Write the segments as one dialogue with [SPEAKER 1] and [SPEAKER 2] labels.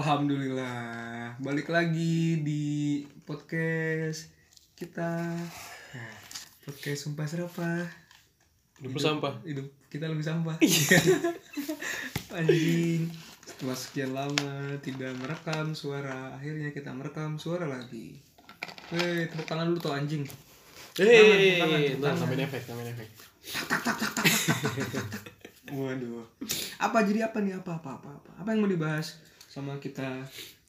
[SPEAKER 1] Alhamdulillah, balik lagi di podcast kita. Podcast Sumpah Serapah.
[SPEAKER 2] Hidup sampah. Iya.
[SPEAKER 1] Hidup kita lebih sampah. Anjing. Setelah sekian lama tidak merekam suara, akhirnya kita merekam suara lagi. Hei, tepuk tangan dulu tuh anjing.
[SPEAKER 2] Hei,
[SPEAKER 1] Tangan, tangan,
[SPEAKER 2] nah,
[SPEAKER 1] tangan.
[SPEAKER 2] tambahin efek, tambahin efek.
[SPEAKER 1] Waduh. Apa jadi apa nih? Apa apa apa apa? Apa yang mau dibahas sama kita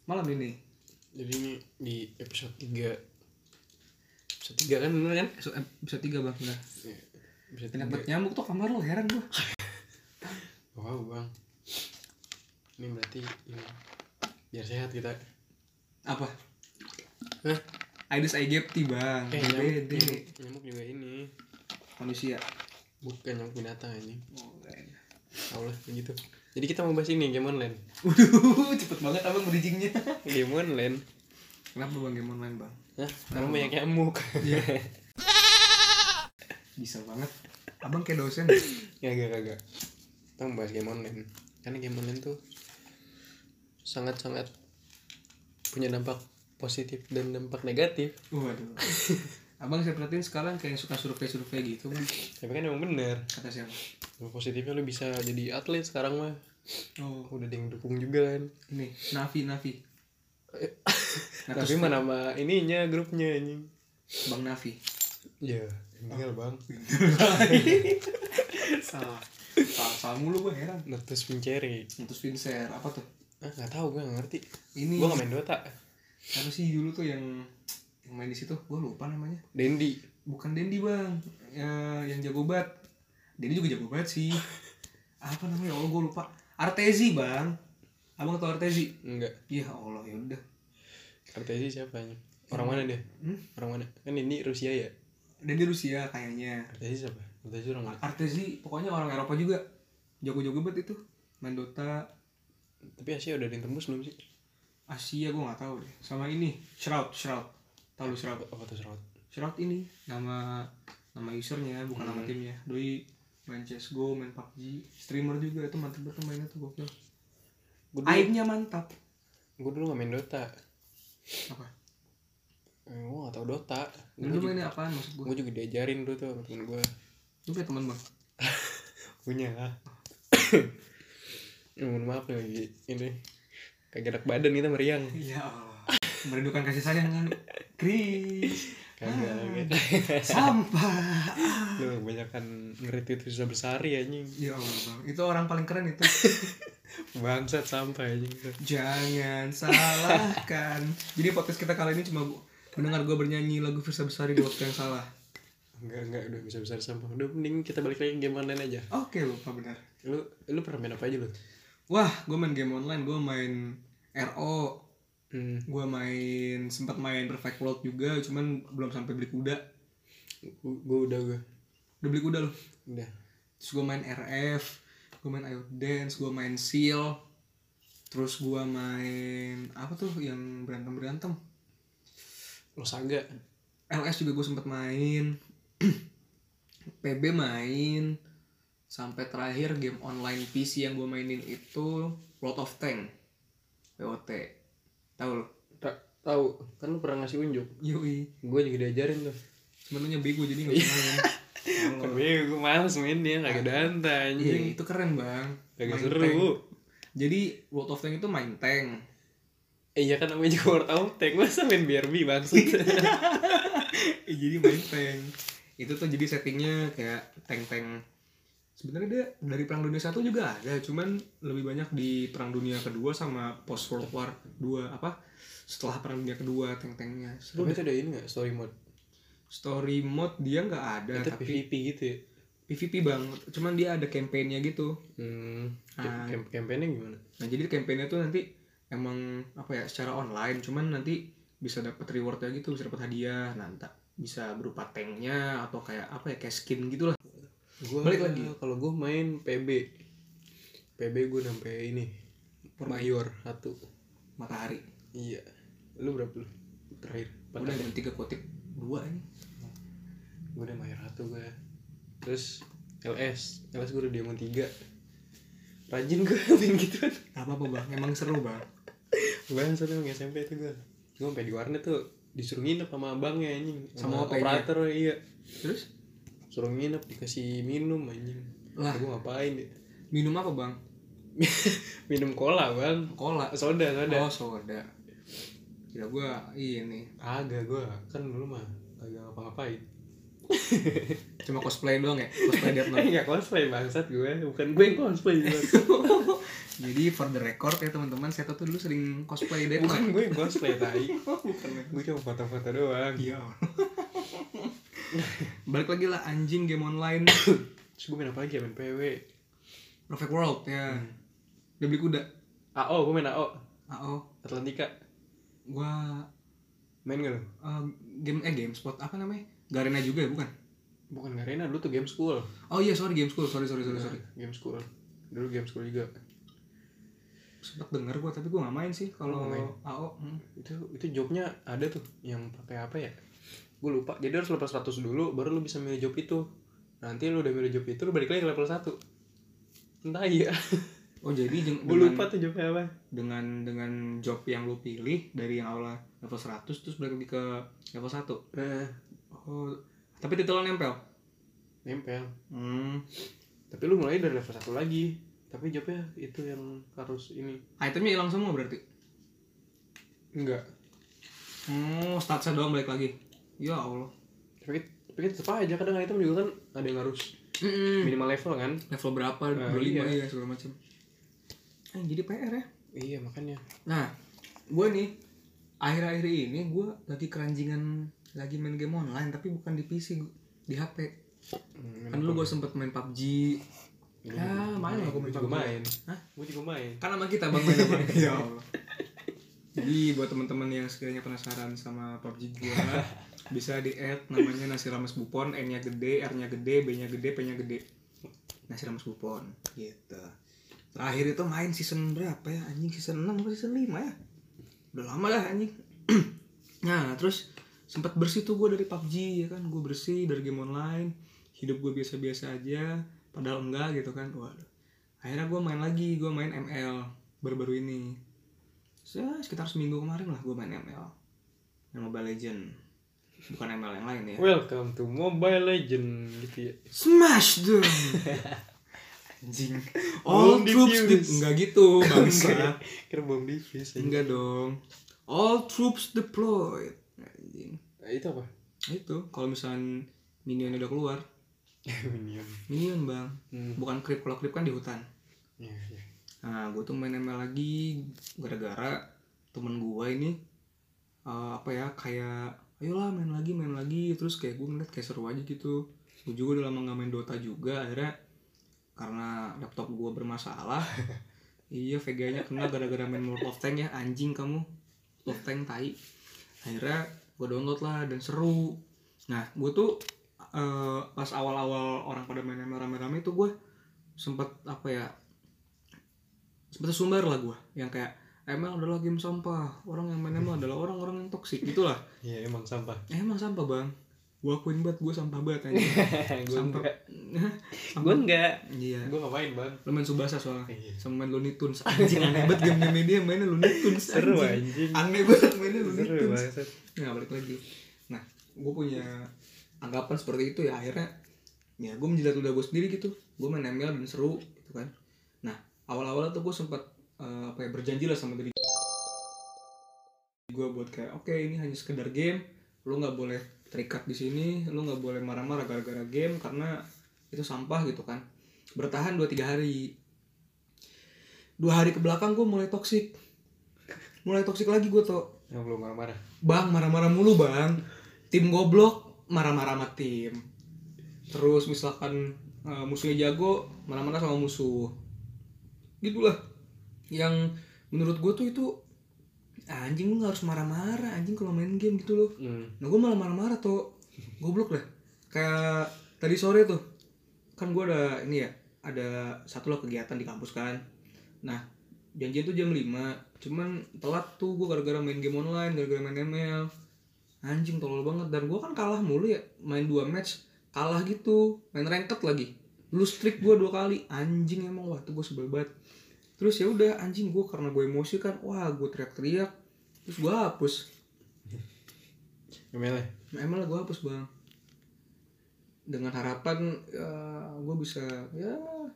[SPEAKER 1] malam ini?
[SPEAKER 2] Jadi ini di episode 3 Episode 3 kan bener kan?
[SPEAKER 1] So, eh, episode 3 bang, udah.
[SPEAKER 2] Iya, Episode
[SPEAKER 1] Banyak
[SPEAKER 2] 3
[SPEAKER 1] banget nyamuk tuh kamar lu heran gua.
[SPEAKER 2] Wow bang Ini berarti ini Biar sehat kita
[SPEAKER 1] Apa?
[SPEAKER 2] Hah?
[SPEAKER 1] Aedes aegypti bang.
[SPEAKER 2] Eh nyamuk,
[SPEAKER 1] BD.
[SPEAKER 2] nyamuk, nyamuk juga ini
[SPEAKER 1] Manusia.
[SPEAKER 2] Bukan nyamuk binatang ini
[SPEAKER 1] Oh, keren.
[SPEAKER 2] Tau lah kayak gitu Jadi kita mau bahas ini game online
[SPEAKER 1] Waduh, cepet banget abang bridgingnya.
[SPEAKER 2] Game online
[SPEAKER 1] Kenapa bang game online bang?
[SPEAKER 2] Hah? Iya. Karena banyak nyamuk
[SPEAKER 1] Bisa banget. Abang kayak dosen.
[SPEAKER 2] Ya agak agak. Kita mau bahas game online. Karena game online tuh sangat-sangat punya dampak positif dan dampak negatif.
[SPEAKER 1] Waduh. Abang saya perhatiin sekarang kayak suka survei-survei gitu bang.
[SPEAKER 2] Tapi kan emang bener.
[SPEAKER 1] Kata siapa?
[SPEAKER 2] Dampak positifnya lu bisa jadi atlet sekarang mah.
[SPEAKER 1] Oh,
[SPEAKER 2] Udah ada yang dukung juga kan.
[SPEAKER 1] ini Navi Navi.
[SPEAKER 2] Tapi mana nama ininya grupnya anjing.
[SPEAKER 1] Bang Navi.
[SPEAKER 2] Iya, tinggal Bang.
[SPEAKER 1] Salah. Salah, salah mulu gua heran.
[SPEAKER 2] Natus Vincere.
[SPEAKER 1] Terus Vincere apa tuh?
[SPEAKER 2] Ah, enggak tahu gua nggak ngerti.
[SPEAKER 1] Ini
[SPEAKER 2] Gua nggak main Dota.
[SPEAKER 1] Apa sih dulu tuh yang yang main di situ? Gue lupa namanya.
[SPEAKER 2] Dendi.
[SPEAKER 1] Bukan Dendi bang, Ya, yang jago banget. Dendi juga jago banget sih. Apa namanya? Ya Allah gue lupa. Artezi bang. Abang tau Artezi?
[SPEAKER 2] Enggak.
[SPEAKER 1] Ya Allah ya udah.
[SPEAKER 2] Kartesi siapa anjing? Orang mana dia?
[SPEAKER 1] Hmm?
[SPEAKER 2] Orang mana? Kan ini Rusia ya.
[SPEAKER 1] Dendi Rusia kayaknya.
[SPEAKER 2] Kartesi siapa? Kartesi orang mana?
[SPEAKER 1] Artezi pokoknya orang Eropa juga. Jago-jago banget itu. Main Dota.
[SPEAKER 2] Tapi Asia udah ada yang tembus belum sih?
[SPEAKER 1] Asia gue nggak tahu deh. Sama ini Shroud, Shroud. Tahu lu Shroud?
[SPEAKER 2] Apa, apa tuh Sarawat?
[SPEAKER 1] Shroud ini nama nama usernya bukan nama timnya doi main CSGO main PUBG streamer juga itu mantep banget mainnya tuh gokil
[SPEAKER 2] Gue dulu,
[SPEAKER 1] aibnya mantap
[SPEAKER 2] gua dulu gak main Dota.
[SPEAKER 1] apa
[SPEAKER 2] Eh, gua gak tau Dota. Gua
[SPEAKER 1] lu
[SPEAKER 2] juga-
[SPEAKER 1] mainnya apaan maksud gua
[SPEAKER 2] gua juga diajarin dulu tuh sama temen gua
[SPEAKER 1] lu punya teman bang
[SPEAKER 2] Punya ah. lah. Ya, Mohon maaf nih lagi ini. Kayak gerak badan kita meriang.
[SPEAKER 1] ya Allah merindukan kasih sayang kan Chris
[SPEAKER 2] Kagak. gitu.
[SPEAKER 1] sampah
[SPEAKER 2] Lu kebanyakan nge-retweet Firza Besari anjing.
[SPEAKER 1] ya Allah bang itu orang paling keren itu
[SPEAKER 2] Bangsat sampai anjing.
[SPEAKER 1] jangan salahkan jadi podcast kita kali ini cuma gua- mendengar gue bernyanyi lagu Firsa Besari di waktu yang salah
[SPEAKER 2] Enggak, enggak. Udah bisa besar sampah. Udah mending kita balik lagi ke game online aja.
[SPEAKER 1] oke lupa benar
[SPEAKER 2] Lu lu pernah main apa aja lu?
[SPEAKER 1] Wah, gue main game online, gue main RO,
[SPEAKER 2] Hmm.
[SPEAKER 1] gue main sempat main Perfect World juga, cuman belum sampai beli kuda.
[SPEAKER 2] Gua, gua udah gua.
[SPEAKER 1] Udah beli kuda loh.
[SPEAKER 2] Udah.
[SPEAKER 1] Terus gue main RF, gue main Ayo Dance, gue main Seal. Terus gue main apa tuh yang berantem berantem?
[SPEAKER 2] Lo saga.
[SPEAKER 1] LS juga gue sempat main. PB main. Sampai terakhir game online PC yang gue mainin itu World of Tank. WOT. Tahu lo?
[SPEAKER 2] Tak tahu. Kan lu pernah ngasih unjuk.
[SPEAKER 1] Yoi.
[SPEAKER 2] gue juga diajarin tuh
[SPEAKER 1] sebenarnya bego jadi nggak bisa main
[SPEAKER 2] kan gue malas mainnya kagak danta
[SPEAKER 1] Iya,
[SPEAKER 2] anjing
[SPEAKER 1] itu keren bang
[SPEAKER 2] kagak
[SPEAKER 1] Main
[SPEAKER 2] seru
[SPEAKER 1] tank. jadi World of Tank itu main tank
[SPEAKER 2] eh iya kan namanya juga World of Tank masa main BRB maksud
[SPEAKER 1] Eh, jadi main tank itu tuh jadi settingnya kayak tank-tank sebenarnya dia dari perang dunia satu juga ada cuman lebih banyak di perang dunia kedua sama post world war 2 apa setelah perang dunia kedua tank-tanknya seru deh.
[SPEAKER 2] tapi itu ada ini nggak story mode
[SPEAKER 1] story mode dia nggak ada
[SPEAKER 2] itu
[SPEAKER 1] tapi
[SPEAKER 2] PVP gitu ya
[SPEAKER 1] PvP bang cuman dia ada campaign-nya gitu
[SPEAKER 2] hmm
[SPEAKER 1] Ah.
[SPEAKER 2] camp campaignnya gimana
[SPEAKER 1] Nah jadi campaignnya tuh nanti emang apa ya secara online cuman nanti bisa dapat rewardnya gitu bisa dapat hadiah nah entah bisa berupa tanknya atau kayak apa ya kayak skin gitulah
[SPEAKER 2] gua
[SPEAKER 1] Balik lagi.
[SPEAKER 2] kalau gue main PB PB gue sampai ini mayor satu
[SPEAKER 1] matahari
[SPEAKER 2] iya lu berapa lu terakhir Empat
[SPEAKER 1] udah
[SPEAKER 2] kali.
[SPEAKER 1] dari tiga kotik dua ini
[SPEAKER 2] gue udah mayor satu gue terus LS LS gue udah diamond tiga rajin gue main gitu. gituan
[SPEAKER 1] Gak apa apa bang emang seru bang
[SPEAKER 2] Bangsat emang SMP itu gue Cuma sampai di warnet tuh disuruh nginep sama abangnya anjing
[SPEAKER 1] Sama
[SPEAKER 2] Sama
[SPEAKER 1] OP-nya.
[SPEAKER 2] operator iya
[SPEAKER 1] Terus
[SPEAKER 2] Suruh nginep dikasih minum anjing
[SPEAKER 1] Lah.
[SPEAKER 2] Gue ngapain ya
[SPEAKER 1] minum apa bang?
[SPEAKER 2] Minum cola bang
[SPEAKER 1] Kola.
[SPEAKER 2] Soda soda
[SPEAKER 1] Oh soda. Kira gua ini
[SPEAKER 2] Agak gue kan dulu mah Agak ngapa-ngapain
[SPEAKER 1] cuma cosplay doang ya cosplay Death Note.
[SPEAKER 2] Eh gak cosplay bangsat gue Bukan gue yang cosplay gue
[SPEAKER 1] Jadi for the record ya teman-teman, saya tuh dulu sering cosplay Death
[SPEAKER 2] Bukan
[SPEAKER 1] Note.
[SPEAKER 2] gue yang cosplay tai Gue cuma foto-foto doang
[SPEAKER 1] Iya. Balik lagi lah anjing game online
[SPEAKER 2] Terus gue main apa lagi ya main PW
[SPEAKER 1] Perfect World ya. Dia beli kuda.
[SPEAKER 2] AO gue Ah, oh, main AO
[SPEAKER 1] AO.
[SPEAKER 2] Atlantika
[SPEAKER 1] Gua
[SPEAKER 2] Main gak lu?
[SPEAKER 1] eh, game eh GameSpot apa namanya? Garena juga ya bukan?
[SPEAKER 2] Bukan Garena dulu tuh game school
[SPEAKER 1] Oh iya sorry Game School, sorry sorry sorry sorry.
[SPEAKER 2] Game school Dulu game school juga
[SPEAKER 1] Sempet denger gua tapi gua nggak main sih kalau
[SPEAKER 2] Nggak main.
[SPEAKER 1] AO. Hmm.
[SPEAKER 2] itu itu jobnya ada tuh yang pakai apa ya gue lupa jadi harus level 100 dulu baru lu bisa milih job itu nanti lu udah milih job itu lu balik lagi ke level 1 entah iya
[SPEAKER 1] Oh jadi jeng-
[SPEAKER 2] gue
[SPEAKER 1] dengan,
[SPEAKER 2] lupa tuh jobnya apa
[SPEAKER 1] dengan dengan job yang lu pilih dari yang awalnya level 100 terus balik lagi ke level 1.
[SPEAKER 2] nah,
[SPEAKER 1] Oh, tapi titelnya nempel.
[SPEAKER 2] nempel
[SPEAKER 1] Hmm.
[SPEAKER 2] tapi lu mulai dari level 1 lagi tapi jobnya itu yang harus ini
[SPEAKER 1] Itemnya hilang semua berarti.
[SPEAKER 2] enggak
[SPEAKER 1] Oh, statsnya doang balik lagi. Ya Allah.
[SPEAKER 2] tapi tapi kan tetap aja kadang item juga kan ada yang harus
[SPEAKER 1] Mm-mm.
[SPEAKER 2] minimal level kan
[SPEAKER 1] Level berapa?
[SPEAKER 2] Nah,
[SPEAKER 1] berlima ya segala macam. Eh, jadi PR ya.
[SPEAKER 2] iya makanya
[SPEAKER 1] Nah, gue nih akhir-akhir ini gue lagi keranjingan lagi main game online tapi bukan di PC gua- di HP.
[SPEAKER 2] Hmm,
[SPEAKER 1] Kan dulu gue sempet main PUBG. Ya, main lah gue
[SPEAKER 2] gue
[SPEAKER 1] main
[SPEAKER 2] juga
[SPEAKER 1] PUBG.
[SPEAKER 2] Ah, main
[SPEAKER 1] Hah?
[SPEAKER 2] gue juga main
[SPEAKER 1] Kan sama kita bang main apa? Ya Allah. Jadi buat teman-teman yang sekiranya penasaran sama PUBG gue bisa di add namanya Nasi Rames Bupon, N-nya gede, R-nya gede, B-nya gede, P-nya gede. Nasi Rames Bupon gitu. Terakhir itu main season berapa ya? Anjing season 6 apa season 5 ya? Udah lama lah anjing. nah, terus sempat bersih tuh gue dari PUBG ya kan. Gue bersih dari game online. Hidup gue biasa-biasa aja. Padahal enggak gitu kan. Waduh. Akhirnya gue main lagi. Gue main ML baru-baru ini. Ya, sekitar seminggu kemarin lah gue main ML. Yang Mobile Legend. Bukan ML yang
[SPEAKER 2] Iya.
[SPEAKER 1] lain ya.
[SPEAKER 2] Welcome to Mobile Legend gitu ya.
[SPEAKER 1] Smash them. Anjing. All
[SPEAKER 2] Belum
[SPEAKER 1] troops
[SPEAKER 2] diffuse.
[SPEAKER 1] dep- enggak gitu, bangsa.
[SPEAKER 2] Enggak. ya? Kira bom divis. ya.
[SPEAKER 1] enggak dong. All troops deployed. Anjing.
[SPEAKER 2] Nah, itu apa?
[SPEAKER 1] Itu kalau misalnya minionnya udah keluar,
[SPEAKER 2] Minion.
[SPEAKER 1] minion, Bang.
[SPEAKER 2] Hmm.
[SPEAKER 1] Bukan creep, kalau creep kan di hutan.
[SPEAKER 2] Ya, ya.
[SPEAKER 1] Nah, gue tuh main ML lagi gara-gara temen gue ini eh, apa ya kayak ayolah main lagi main lagi terus kayak gue ngeliat kayak seru aja gitu gue juga udah lama gak main Dota juga akhirnya karena laptop gue bermasalah iya Vega nya kena gara-gara main World of Tank ya anjing kamu World of Tank tai akhirnya gue download lah dan seru nah gue tuh eh, pas awal-awal orang pada main ML rame-rame tuh gue sempet apa ya seperti sumber lah gue yang kayak ML adalah game sampah orang yang main ML adalah orang-orang yang toksik gitulah
[SPEAKER 2] Ya, emang sampah.
[SPEAKER 1] emang sampah bang gue akuin banget gue sampah banget anjing
[SPEAKER 2] gue
[SPEAKER 1] sampah
[SPEAKER 2] enggak.
[SPEAKER 1] Sampah.
[SPEAKER 2] Gue enggak.
[SPEAKER 1] iya
[SPEAKER 2] Gue ngapain, Bang?
[SPEAKER 1] lu main Subasa soalnya
[SPEAKER 2] Iya.
[SPEAKER 1] sama main Looney Tunes anjing aneh banget game game dia mainnya Looney Tunes
[SPEAKER 2] Seru
[SPEAKER 1] anjing.
[SPEAKER 2] anjing. gitu.
[SPEAKER 1] aneh banget mainnya Looney
[SPEAKER 2] Seru
[SPEAKER 1] Tunes
[SPEAKER 2] banget.
[SPEAKER 1] Nah balik lagi Nah gue punya anggapan seperti itu ya Akhirnya ya gue menjilat udah gue sendiri gitu Gue main ML dan seru gitu kan Nah awal-awal tuh gue sempat eh, apa ya, berjanji lah sama diri gue buat kayak oke ini hanya sekedar game lu nggak boleh terikat di sini lu nggak boleh marah-marah gara-gara game karena itu sampah gitu kan bertahan 2-3 hari dua hari ke belakang gue mulai toksik mulai toksik lagi gue tuh
[SPEAKER 2] Yang belum marah-marah.
[SPEAKER 1] Bang, marah-marah mulu bang. Tim goblok, marah-marah sama tim. Terus misalkan eh, musuhnya jago, marah-marah sama musuh. Gitulah. Yang menurut gue tuh itu "Ah, anjing lu gak harus marah-marah anjing kalau main game gitu loh.
[SPEAKER 2] Hmm.
[SPEAKER 1] Nah gue malah marah-marah tuh Goblok deh Kayak tadi sore tuh Kan gue ada ini ya Ada satu lah kegiatan di kampus kan Nah janjian tuh jam 5 Cuman telat tuh gue gara-gara main game online Gara-gara main ML Anjing tolol banget Dan gue kan kalah mulu ya Main dua match Kalah gitu Main ranked lagi Lu streak gue dua kali Anjing emang Wah tuh gue sebel banget terus ya udah anjing gue karena gue emosi kan wah gue teriak-teriak terus gue hapus
[SPEAKER 2] Gimana?
[SPEAKER 1] Nah, emang lah gue hapus bang dengan harapan ya, gue bisa ya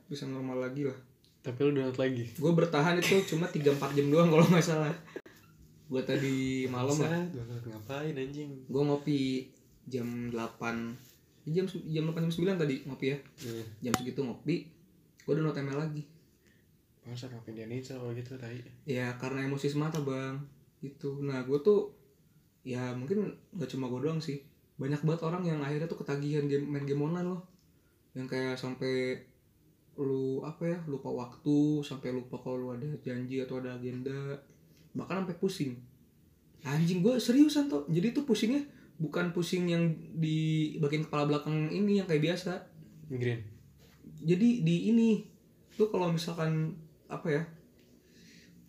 [SPEAKER 1] bisa normal lagi lah
[SPEAKER 2] Tapi lu download lagi.
[SPEAKER 1] gue bertahan itu cuma 3-4 jam doang kalau nggak salah gue tadi malam lah
[SPEAKER 2] Set, download ngapain anjing?
[SPEAKER 1] gue ngopi jam 8 ya, jam se- jam 8 jam 9 tadi ngopi ya
[SPEAKER 2] Hmm.
[SPEAKER 1] jam segitu ngopi gue udah ML lagi
[SPEAKER 2] Masa ngapain dia ninja kalau gitu tai?
[SPEAKER 1] ya karena emosi semata bang itu nah gue tuh ya mungkin nggak cuma gue doang sih banyak banget orang yang akhirnya tuh ketagihan game main game online loh yang kayak sampai lu apa ya lupa waktu sampai lupa kalau lu ada janji atau ada agenda bahkan sampai pusing anjing gue seriusan tuh jadi tuh pusingnya bukan pusing yang di bagian kepala belakang ini yang kayak biasa
[SPEAKER 2] Migrain.
[SPEAKER 1] jadi di ini tuh kalau misalkan apa ya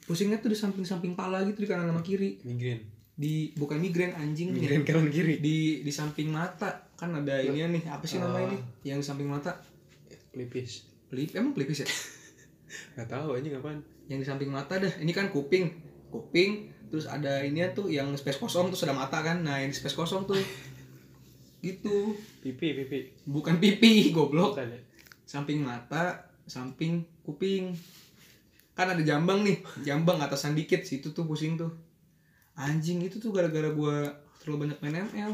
[SPEAKER 1] pusingnya tuh di samping-samping pala gitu di kanan sama kiri
[SPEAKER 2] Migrain.
[SPEAKER 1] di bukan migrain anjing
[SPEAKER 2] Migrain kanan kiri.
[SPEAKER 1] di di samping mata kan ada ini nih apa sih
[SPEAKER 2] Ah.
[SPEAKER 1] namanya nih yang di samping mata
[SPEAKER 2] Lipis.
[SPEAKER 1] pelip emang pelipis ya
[SPEAKER 2] Gak tahu anjing apaan.
[SPEAKER 1] yang di samping mata dah ini kan kuping kuping terus ada ini tuh yang space kosong terus ada mata kan nah yang di space kosong tuh gitu
[SPEAKER 2] Pipi, pipi.
[SPEAKER 1] bukan pipi goblok
[SPEAKER 2] Bukan ya?
[SPEAKER 1] samping mata, samping kuping. Kan ada jambang nih, jambang atasan dikit, situ tuh pusing tuh. Anjing itu tuh gara-gara gua terlalu banyak main ML.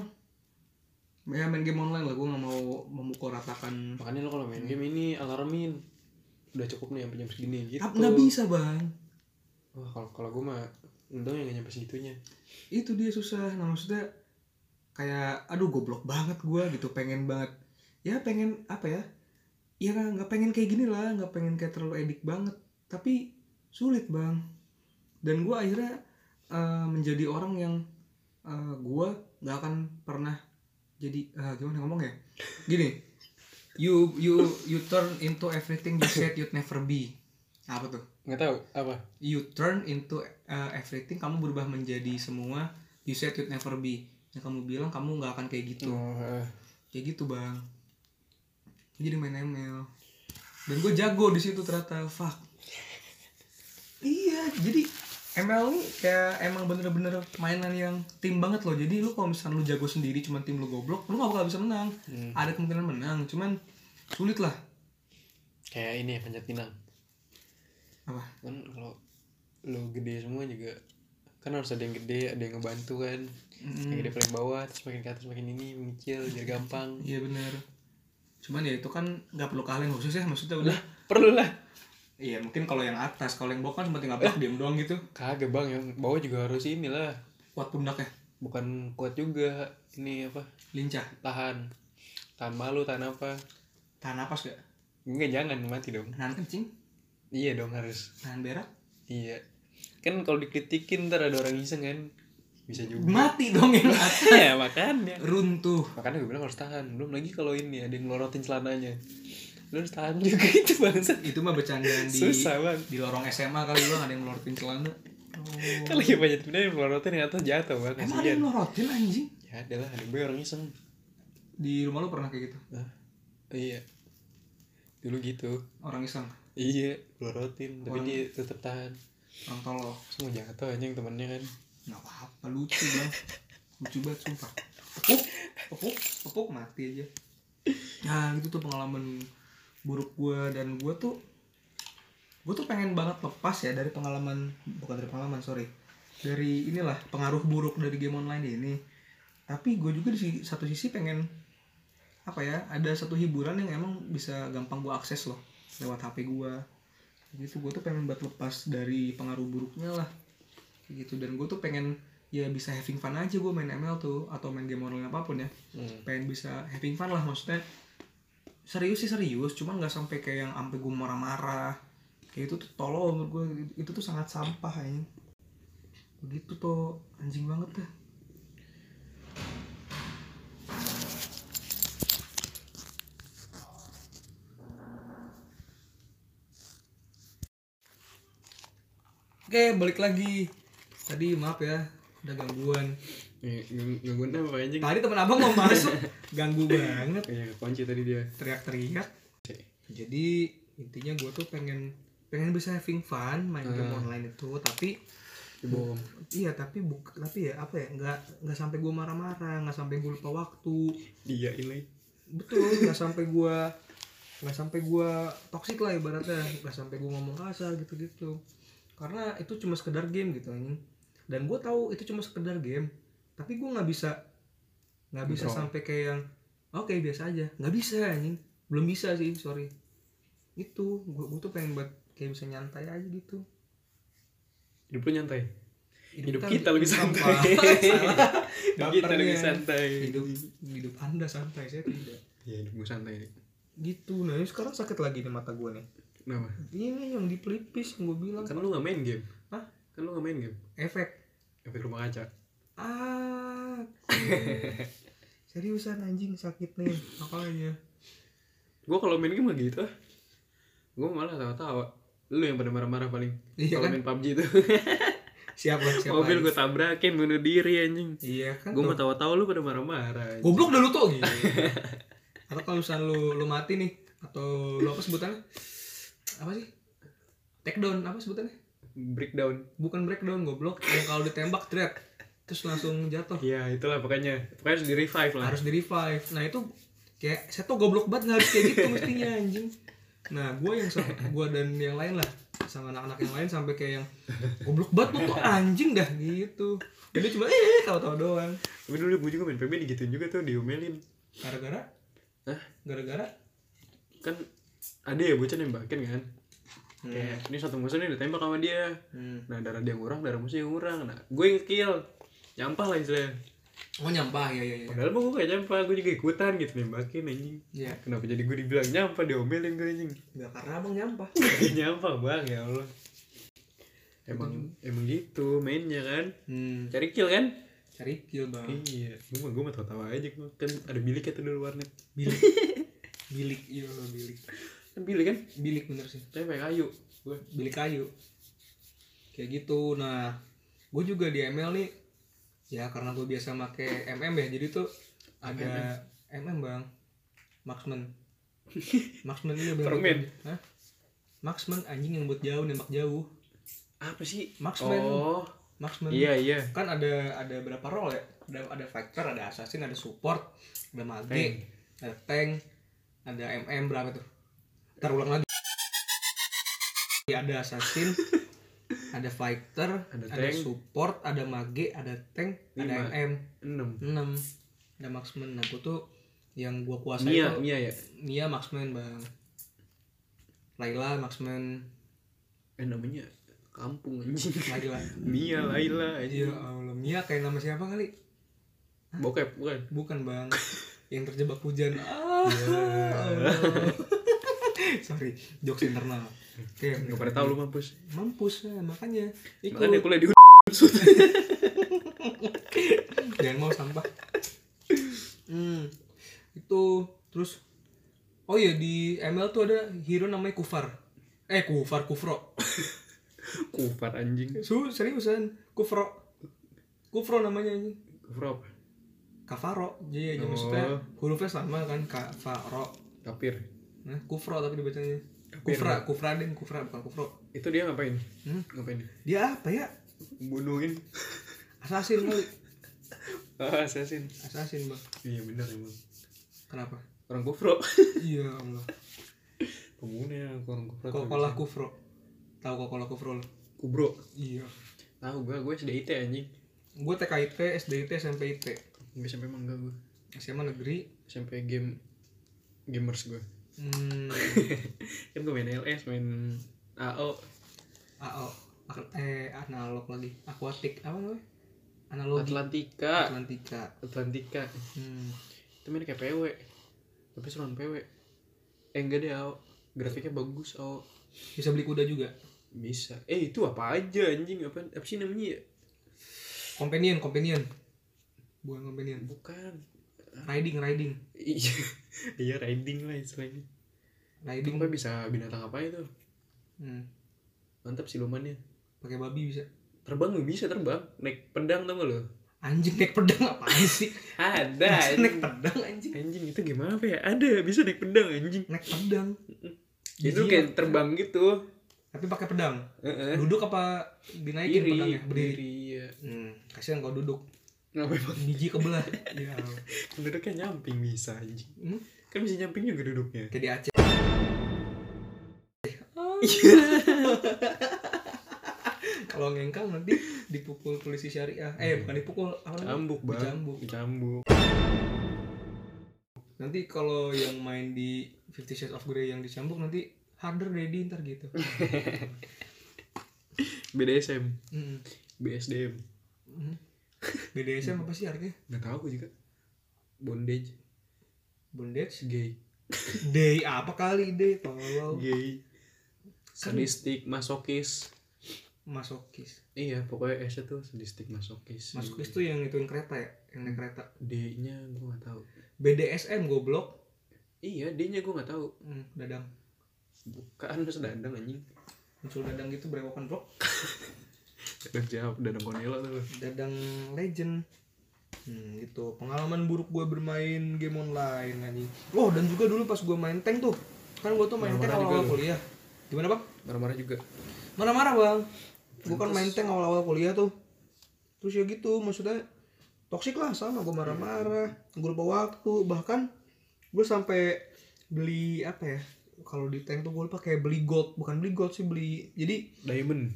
[SPEAKER 1] Ya main game online lah, gua nggak mau memukul ratakan.
[SPEAKER 2] Makanya lo kalau main game ini alarmin. Udah cukup nih sampai jam segini gitu.
[SPEAKER 1] Tapi Ah, nggak bisa bang,
[SPEAKER 2] Wah, kalau kalau gue mah untung yang gak nyampe segitunya.
[SPEAKER 1] itu dia susah. Nah maksudnya kayak, aduh goblok banget gua gitu, pengen banget. Ya pengen apa ya? Ya nggak pengen kayak gini lah, nggak pengen kayak terlalu edik banget. Tapi sulit bang. dan gue akhirnya eh, menjadi orang yang eh, gue nggak akan pernah jadi eh, gimana ngomong ya gini you you you turn into everything you said you'd never be apa tuh
[SPEAKER 2] Gak tahu apa?
[SPEAKER 1] you turn into eh, everything kamu berubah menjadi semua you said you'd never be yang kamu bilang kamu nggak akan kayak gitu
[SPEAKER 2] Oh, eh,
[SPEAKER 1] kayak gitu bang Gua jadi main ML dan gue jago di situ ternyata fuck iya jadi ML ini kayak emang bener-bener mainan yang tim banget loh jadi lu kalau misalnya lu jago sendiri cuman tim lu goblok lu gak bakal bisa menang
[SPEAKER 2] Hmm.
[SPEAKER 1] ada kemungkinan menang cuman sulit lah
[SPEAKER 2] kayak ini ya panjat pinang.
[SPEAKER 1] apa
[SPEAKER 2] Kan kalau lo gede semua juga kan harus ada yang gede, ada yang ngebantu kan. Yang
[SPEAKER 1] Mm,
[SPEAKER 2] gede paling bawah, terus makin ke atas makin ini mengecil biar gampang.
[SPEAKER 1] iya bener cuman ya itu kan nggak perlu keahlian khusus ya maksudnya udah
[SPEAKER 2] Perlu lah.
[SPEAKER 1] iya mungkin kalau yang atas kalau yang bawah kan cuma tinggal blok diem doang gitu
[SPEAKER 2] Kagak bang, yang bawah juga harus inilah.
[SPEAKER 1] kuat pundaknya
[SPEAKER 2] Bukan kuat juga, ini apa?
[SPEAKER 1] lincah
[SPEAKER 2] Tahan, tahan malu, tahan apa?
[SPEAKER 1] tahan napas gak
[SPEAKER 2] Enggak jangan mati dong.
[SPEAKER 1] nahan kencing
[SPEAKER 2] Iya dong harus.
[SPEAKER 1] nahan berak
[SPEAKER 2] Iya. Kan kalau dikritikin ntar ada orang iseng kan. Bisa juga.
[SPEAKER 1] mati dong yang atas.
[SPEAKER 2] ya makanya.
[SPEAKER 1] runtuh
[SPEAKER 2] Makanya gue bilang harus tahan. Belum lagi kalau ini ada yang ngelorotin celananya. Lu harus tahan juga itu bangsat.
[SPEAKER 1] itu mah bercandaan di
[SPEAKER 2] Susah bang.
[SPEAKER 1] di lorong SMA kali lu ada yang melorotin celana Oh.
[SPEAKER 2] Kan lagi banyak benda yang ngelorotin yang atas jatuh bang.
[SPEAKER 1] emang ada
[SPEAKER 2] Kasian.
[SPEAKER 1] yang melorotin anjing
[SPEAKER 2] Ya adalah ada gue orang iseng.
[SPEAKER 1] di rumah lu pernah kayak gitu
[SPEAKER 2] Nah, iya. Dulu gitu.
[SPEAKER 1] orang iseng
[SPEAKER 2] Iya, ngelorotin. Tapi
[SPEAKER 1] Orang-
[SPEAKER 2] dia tetap tahan.
[SPEAKER 1] orang tolol
[SPEAKER 2] Terus mau jatuh anjing temennya kan.
[SPEAKER 1] nggak apa-apa lucu bang lucu banget sumpah tepuk tepuk tepuk mati aja nah itu tuh pengalaman buruk gua dan gua tuh gua tuh pengen banget lepas ya dari pengalaman bukan dari pengalaman sorry dari inilah pengaruh buruk dari game online ini tapi gue juga di si- satu sisi pengen apa ya ada satu hiburan yang emang bisa gampang gua akses loh lewat HP gua gitu gue tuh pengen buat lepas dari pengaruh buruknya lah Kayak gitu dan gue tuh pengen ya bisa having fun aja gue main ML tuh atau main game online apapun ya
[SPEAKER 2] Hmm.
[SPEAKER 1] pengen bisa having fun lah maksudnya serius sih serius cuman nggak sampai kayak yang sampai gue marah-marah kayak itu tuh tolol menurut gue itu tuh sangat sampah ya begitu tuh anjing banget dah Oke, balik lagi. Tadi maaf ya, ada gangguan.
[SPEAKER 2] Eh, nggak- nggak guna apa anjing.
[SPEAKER 1] Tadi teman abang mau masuk, ganggu banget,
[SPEAKER 2] Iya, kunci tadi dia.
[SPEAKER 1] teriak-teriak. Jadi intinya gue tuh pengen pengen bisa having fun main game
[SPEAKER 2] Hmm.
[SPEAKER 1] online itu tapi
[SPEAKER 2] Bom.
[SPEAKER 1] iya tapi buk tapi ya apa ya nggak nggak sampai gue marah-marah nggak sampai gue lupa waktu
[SPEAKER 2] Dia Iya, ini.
[SPEAKER 1] betul nggak sampai gue nggak sampai gue toksik lah ibaratnya nggak sampai gue ngomong kasar gitu-gitu karena itu cuma sekedar game gitu anjing dan gue tahu itu cuma sekedar game tapi gue nggak bisa nggak bisa
[SPEAKER 2] Kontrol.
[SPEAKER 1] sampai kayak yang oke biasa aja nggak bisa anjing belum bisa sih sorry itu gue gue tuh pengen buat kayak bisa nyantai aja gitu
[SPEAKER 2] Hidup lu nyantai. Hidup
[SPEAKER 1] kan-
[SPEAKER 2] kita lebih
[SPEAKER 1] hidup
[SPEAKER 2] santai.
[SPEAKER 1] apa? Salah.
[SPEAKER 2] Hidup kita lebih
[SPEAKER 1] Bapernya.
[SPEAKER 2] santai.
[SPEAKER 1] hidup hidup anda santai saya tidak
[SPEAKER 2] Ya hidup gue santai.
[SPEAKER 1] gitu nah ini sekarang sakit lagi nih mata gue nih
[SPEAKER 2] Kenapa?
[SPEAKER 1] Iya, ini yang dipelipis yang gue bilang
[SPEAKER 2] Kan lu gak main game.
[SPEAKER 1] Hah?
[SPEAKER 2] Kan lu gak main game.
[SPEAKER 1] efek
[SPEAKER 2] Efek rumah kaca.
[SPEAKER 1] ah seriusan anjing sakit nih makanya
[SPEAKER 2] Gue kalau main game mah gitu. Gue malah tawa-tawa. Lu yang pada marah-marah paling.
[SPEAKER 1] Iya
[SPEAKER 2] kalau
[SPEAKER 1] kan?
[SPEAKER 2] main PUBG itu.
[SPEAKER 1] siapa siapa
[SPEAKER 2] Mobil gue tabrakin bunuh diri anjing.
[SPEAKER 1] iya kan
[SPEAKER 2] Gue mau tawa-tawa lu pada marah-marah.
[SPEAKER 1] goblok dah lu tuh gitu atau kalau misalnya lu lu mati nih atau lu apa sebutannya apa sih take down apa sebutannya
[SPEAKER 2] Breakdown.
[SPEAKER 1] bukan breakdown goblok yang kalau ditembak dread terus langsung jatuh
[SPEAKER 2] Ya itulah pokoknya. Pokoknya harus di revive lah.
[SPEAKER 1] harus di revive nah itu kayak saya tuh goblok banget nggak harus kayak gitu mestinya anjing nah gue yang sama gue dan yang lain lah sama anak-anak yang lain sampai kayak yang goblok banget lu tuh anjing dah gitu jadi cuma eh tahu-tahu doang
[SPEAKER 2] Tapi dulu gue juga main PB digituin juga tuh diomelin.
[SPEAKER 1] gara-gara
[SPEAKER 2] Hah?
[SPEAKER 1] gara-gara
[SPEAKER 2] Kan ada ya bocah nembakin kan. Kayak ini satu musuh nih ditembak sama dia.
[SPEAKER 1] hmm.
[SPEAKER 2] Nah darah dia ngurang, darah musuh yang ngurang. Nah gue yang kill. Nyampah lah istilahnya.
[SPEAKER 1] oh nyampah ya ya ya
[SPEAKER 2] Padahal mah gue kayak nyampah, gue juga ikutan gitu nembakin anjing.
[SPEAKER 1] ya
[SPEAKER 2] Kenapa jadi gue dibilang nyampah, diomelin gue anjing.
[SPEAKER 1] nggak karena abang nyampah
[SPEAKER 2] Gak nyampah bang ya Allah. Emang emang gitu mainnya kan.
[SPEAKER 1] hmm.
[SPEAKER 2] Cari kill kan?
[SPEAKER 1] cari kill bang
[SPEAKER 2] Iya, gue mah gue mah tawa-tawa aja gue kan ada bilik ya tuh dulu warnet.
[SPEAKER 1] bilik bilik iya bilik
[SPEAKER 2] Kan bilik kan?
[SPEAKER 1] bilik bener sih
[SPEAKER 2] Tapi pakai kayu. Gue
[SPEAKER 1] beli kayu kayak gitu nah gue juga di ML nih ya karena gue biasa make MM ya jadi tuh ada MM bang Maxman Maxman ini bang
[SPEAKER 2] Permen.
[SPEAKER 1] Hah? Maxman anjing yang buat jauh nembak jauh
[SPEAKER 2] apa sih?
[SPEAKER 1] Marksman.
[SPEAKER 2] Oh,
[SPEAKER 1] Maxman
[SPEAKER 2] iya iya.
[SPEAKER 1] kan ada ada berapa role ya ada ada fighter ada assassin ada support ada mage ada tank ada mm berapa tuh ntar ulang lagi Ya, ada assassin ada fighter
[SPEAKER 2] Ada
[SPEAKER 1] ada,
[SPEAKER 2] tank.
[SPEAKER 1] support ada mage ada tank
[SPEAKER 2] Lima.
[SPEAKER 1] ada mm 6
[SPEAKER 2] 6.
[SPEAKER 1] ada marksman nah gua tuh yang gua kuasain
[SPEAKER 2] Mia,
[SPEAKER 1] tuh
[SPEAKER 2] Mia ya.
[SPEAKER 1] Mia marksman bang Laila marksman
[SPEAKER 2] Eh namanya kampung anjing.
[SPEAKER 1] Laila
[SPEAKER 2] Mia Laila
[SPEAKER 1] ya
[SPEAKER 2] anjing.
[SPEAKER 1] Allah Mia kayak nama siapa kali
[SPEAKER 2] Bokep bukan.
[SPEAKER 1] Bukan bang, yang terjebak hujan. Ah, Allah. Sorry, jokes internal. Oke,
[SPEAKER 2] Enggak pada tahu lu mampus.
[SPEAKER 1] mampus ya, makanya ikut.
[SPEAKER 2] Makanya kuliah di
[SPEAKER 1] Jangan mau sampah. Hmm, itu terus. Oh iya di ML tuh ada hero namanya Kufar. Eh Kufar Kufro.
[SPEAKER 2] Kufar anjing.
[SPEAKER 1] Su seriusan Kufro. Kufro namanya ini.
[SPEAKER 2] Kufar apa?
[SPEAKER 1] Kafaro. Iya, iya,
[SPEAKER 2] Oh.
[SPEAKER 1] maksudnya hurufnya sama kan Kafaro.
[SPEAKER 2] Kapir.
[SPEAKER 1] Nah, kufro tapi dibacanya.
[SPEAKER 2] Tapi
[SPEAKER 1] Kufra, kufra ding, kufra bukan kufro.
[SPEAKER 2] Itu dia ngapain?
[SPEAKER 1] Hmm?
[SPEAKER 2] Ngapain?
[SPEAKER 1] Dia apa ya?
[SPEAKER 2] Bunuhin.
[SPEAKER 1] Assassin kali.
[SPEAKER 2] Ah, assassin.
[SPEAKER 1] Assassin, Bang.
[SPEAKER 2] Iya benar emang.
[SPEAKER 1] Kenapa?
[SPEAKER 2] Orang kufro.
[SPEAKER 1] iya, Allah.
[SPEAKER 2] Pembunuh ya orang kufro. tuh
[SPEAKER 1] Kokolah
[SPEAKER 2] biasanya.
[SPEAKER 1] kufro. Tahu kokolah kufro lu?
[SPEAKER 2] kubro.
[SPEAKER 1] Iya.
[SPEAKER 2] Tahu gua, gua SDIT anjing.
[SPEAKER 1] Gue TKIT, SDIT, SMPIT.
[SPEAKER 2] Gua sampai emang enggak gua.
[SPEAKER 1] SMA negeri.
[SPEAKER 2] Sampai game gamers gua.
[SPEAKER 1] Hmm,
[SPEAKER 2] kan gua main LS, main AO.
[SPEAKER 1] AO. Ak- Eh, analog lagi. Akuatik apa namanya? Analog
[SPEAKER 2] Atlantika.
[SPEAKER 1] Atlantika.
[SPEAKER 2] Atlantika.
[SPEAKER 1] Hmm.
[SPEAKER 2] Itu main kayak PW. Tapi seruan PW. Eh enggak deh AO. Grafiknya bagus AO.
[SPEAKER 1] Bisa beli kuda juga.
[SPEAKER 2] Bisa. Eh itu apa aja anjing? Apa, apa sih namanya ya?
[SPEAKER 1] Companion, companion. Bukan companion.
[SPEAKER 2] Bukan.
[SPEAKER 1] Riding, riding.
[SPEAKER 2] Iya. iya riding lah istilahnya. Itu
[SPEAKER 1] Riding.
[SPEAKER 2] pokoknya bisa binatang apa itu.
[SPEAKER 1] Hmm.
[SPEAKER 2] Mantap silumannya.
[SPEAKER 1] Pakai babi bisa.
[SPEAKER 2] Terbang nggak bisa terbang. Naik pedang tau gak lo?
[SPEAKER 1] anjing naik pedang apaan sih
[SPEAKER 2] Ada.
[SPEAKER 1] Masa naik
[SPEAKER 2] Anjing.
[SPEAKER 1] pedang anjing
[SPEAKER 2] anjing itu gimana apa ya? Ada bisa naik pedang anjing.
[SPEAKER 1] naik pedang
[SPEAKER 2] Itu kayak terbang gitu.
[SPEAKER 1] Tapi pakai pedang.
[SPEAKER 2] Heeh.
[SPEAKER 1] Duduk apa dinaikin
[SPEAKER 2] gitu
[SPEAKER 3] Berdiri,
[SPEAKER 1] pedangnya? Berdiri.
[SPEAKER 3] berdiri, iya.
[SPEAKER 1] Hmm, kasihan kalau duduk.
[SPEAKER 2] Kenapa emang?
[SPEAKER 1] Biji kebelah. ya.
[SPEAKER 2] Duduknya nyamping bisa anjing.
[SPEAKER 1] Hmm?
[SPEAKER 2] Kan bisa nyamping juga duduknya.
[SPEAKER 1] Kayak di Aceh. Kalau ngengkang nanti dipukul polisi syariah. Eh, bukan dipukul, apa namanya?
[SPEAKER 2] Cambuk, Bang.
[SPEAKER 1] Dicambuk.
[SPEAKER 2] Cambuk.
[SPEAKER 1] Nanti kalau yang main di Fifty Shades of Grey yang dicambuk nanti harder ready ntar gitu.
[SPEAKER 2] BDSM,
[SPEAKER 1] Mm.
[SPEAKER 2] BSDM.
[SPEAKER 1] Mm. BDSM apa sih artinya?
[SPEAKER 2] Enggak tahu gue juga. Bondage,
[SPEAKER 1] Bondage?
[SPEAKER 2] gay,
[SPEAKER 1] Day apa kali day? Tolol.
[SPEAKER 2] gay,
[SPEAKER 1] Kan
[SPEAKER 2] Oh. sadistik, masokis.
[SPEAKER 1] masokis.
[SPEAKER 2] Iya, pokoknya S tuh sadistik masokis.
[SPEAKER 1] Masokis tuh yang ituin kereta ya, yang naik kereta.
[SPEAKER 2] D-nya gue gak tahu.
[SPEAKER 1] BDSM goblok.
[SPEAKER 2] Iya, D-nya gue gak tahu.
[SPEAKER 1] Hmm, dadang.
[SPEAKER 2] Bukan lu sedandang anjing.
[SPEAKER 1] Muncul dadang gitu berewokan blok.
[SPEAKER 2] Dadang jawab, dadang konela tuh.
[SPEAKER 1] Dadang legend. Hmm, gitu. Pengalaman buruk gue bermain game online anjing. Oh, dan juga dulu pas gue main tank tuh. Kan gue tuh main tank
[SPEAKER 2] Marah-marah juga
[SPEAKER 1] awal-awal
[SPEAKER 2] lu.
[SPEAKER 1] kuliah. Gimana, Bang?
[SPEAKER 2] Marah-marah juga.
[SPEAKER 1] marah-marah bang gue kan main tank awal-awal kuliah tuh terus ya gitu maksudnya toksik lah sama gue marah-marah gue lupa waktu bahkan gue sampai beli apa ya kalau di tank tuh gue lupa kayak beli gold bukan beli gold sih beli jadi
[SPEAKER 2] Diamond.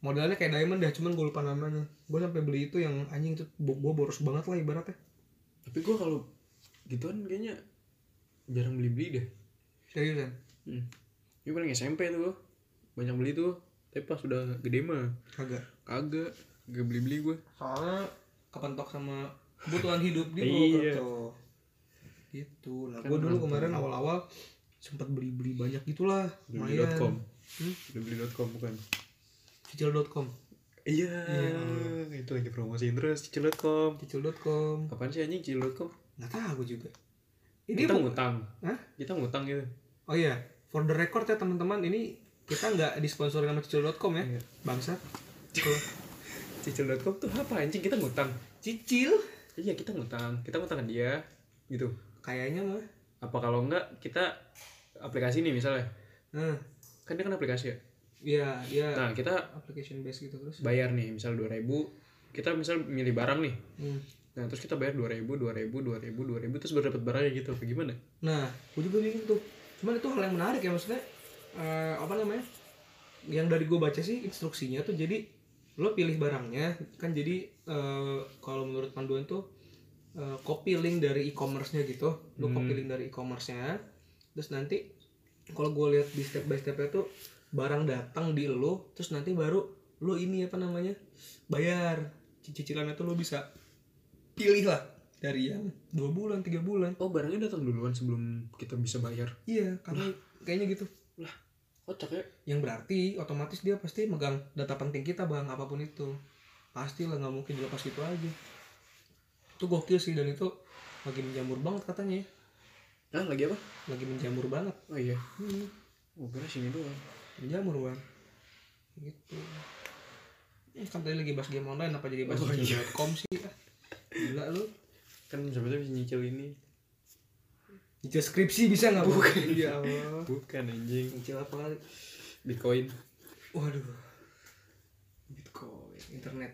[SPEAKER 1] modalnya kayak diamond dah cuman gue lupa namanya gue sampai beli itu yang anjing itu gue boros banget lah ibaratnya
[SPEAKER 2] Tapi gue kalau gituan kayaknya jarang beli-beli deh.
[SPEAKER 1] seriusan
[SPEAKER 2] Hmm. Ini paling SMP tuh gua. Banyak beli tuh. Tapi pas udah gede mah
[SPEAKER 1] kagak
[SPEAKER 2] kagak gak beli-beli gue.
[SPEAKER 1] soalnya kepentok sama kebutuhan hidup gitu
[SPEAKER 2] Iya. Kan
[SPEAKER 1] kepentok. gitu nah gue dulu kemarin awal-awal sempat beli-beli banyak gitulah lumayan
[SPEAKER 2] Beli.com.
[SPEAKER 1] Hmm?
[SPEAKER 2] Udah beli.com bukan.
[SPEAKER 1] cicil.com
[SPEAKER 2] Iya, itu lagi promosiin terus cicil.com.
[SPEAKER 1] cicil.com
[SPEAKER 2] Kapan sih anjing cicil.com?
[SPEAKER 1] nggak tahu juga ini
[SPEAKER 2] Kita
[SPEAKER 1] bu-
[SPEAKER 2] ngutang.
[SPEAKER 1] Hah?
[SPEAKER 2] Kita ngutang gitu.
[SPEAKER 1] oh iya for the record ya teman-teman ini kita nggak disponsori sama cicil.com ya
[SPEAKER 2] Iya.
[SPEAKER 1] bangsa
[SPEAKER 2] Cicil.com tuh apa anjing? Kita ngutang.
[SPEAKER 1] cicil
[SPEAKER 2] Iya, kita ngutang. Kita ngutang ke dia gitu.
[SPEAKER 1] kayaknya mah
[SPEAKER 2] Apa kalau enggak kita aplikasi nih misalnya.
[SPEAKER 1] nah
[SPEAKER 2] Kan dia kan aplikasi ya.
[SPEAKER 1] ya ya
[SPEAKER 2] Nah, kita
[SPEAKER 1] application based gitu terus
[SPEAKER 2] bayar nih misal 2000 kita misal milih barang nih
[SPEAKER 1] Hmm.
[SPEAKER 2] nah terus kita bayar 2000 2000 2000 2000 terus baru dapat barangnya gitu apa gimana
[SPEAKER 1] Nah, gue juga bingung tuh. Cuman itu hal yang menarik ya maksudnya. eh, apa namanya? Yang dari gue baca sih instruksinya tuh jadi lo pilih barangnya kan jadi eh, kalau menurut panduan tuh eh, copy link dari e-commerce-nya gitu. Lo copy link dari e-commerce-nya. Terus nanti kalau gue lihat di step by step-nya tuh barang datang di lo terus nanti baru lo ini apa namanya? bayar. Cicilannya tuh lo bisa pilih lah dari yang dua bulan, tiga bulan.
[SPEAKER 2] oh barangnya datang duluan sebelum kita bisa bayar
[SPEAKER 1] Iya, karena kayaknya gitu.
[SPEAKER 2] kocak ya
[SPEAKER 1] Yang berarti otomatis dia pasti megang data penting kita bang, apapun itu. Pasti lah nggak mungkin dilepas gitu aja. Itu gokil sih dan itu lagi menjamur banget katanya. ya.
[SPEAKER 2] ah lagi apa
[SPEAKER 1] Lagi menjamur banget.
[SPEAKER 2] oh iya
[SPEAKER 1] Hmm,
[SPEAKER 2] oh kira sini doang
[SPEAKER 1] menjamur bang. Gitu. Eh, kan tadi lagi bahas game online apa jadi bahas
[SPEAKER 2] Oh, iya.
[SPEAKER 1] game.com sih? ah. Gila lu.
[SPEAKER 2] kan sebenarnya bisa nyicil ini
[SPEAKER 1] Nyicil skripsi bisa nggak bukan? Iya Allah.
[SPEAKER 2] bukan anjing
[SPEAKER 1] Nyicil apa kali?
[SPEAKER 2] bitcoin
[SPEAKER 1] Waduh,
[SPEAKER 2] bitcoin
[SPEAKER 1] internet.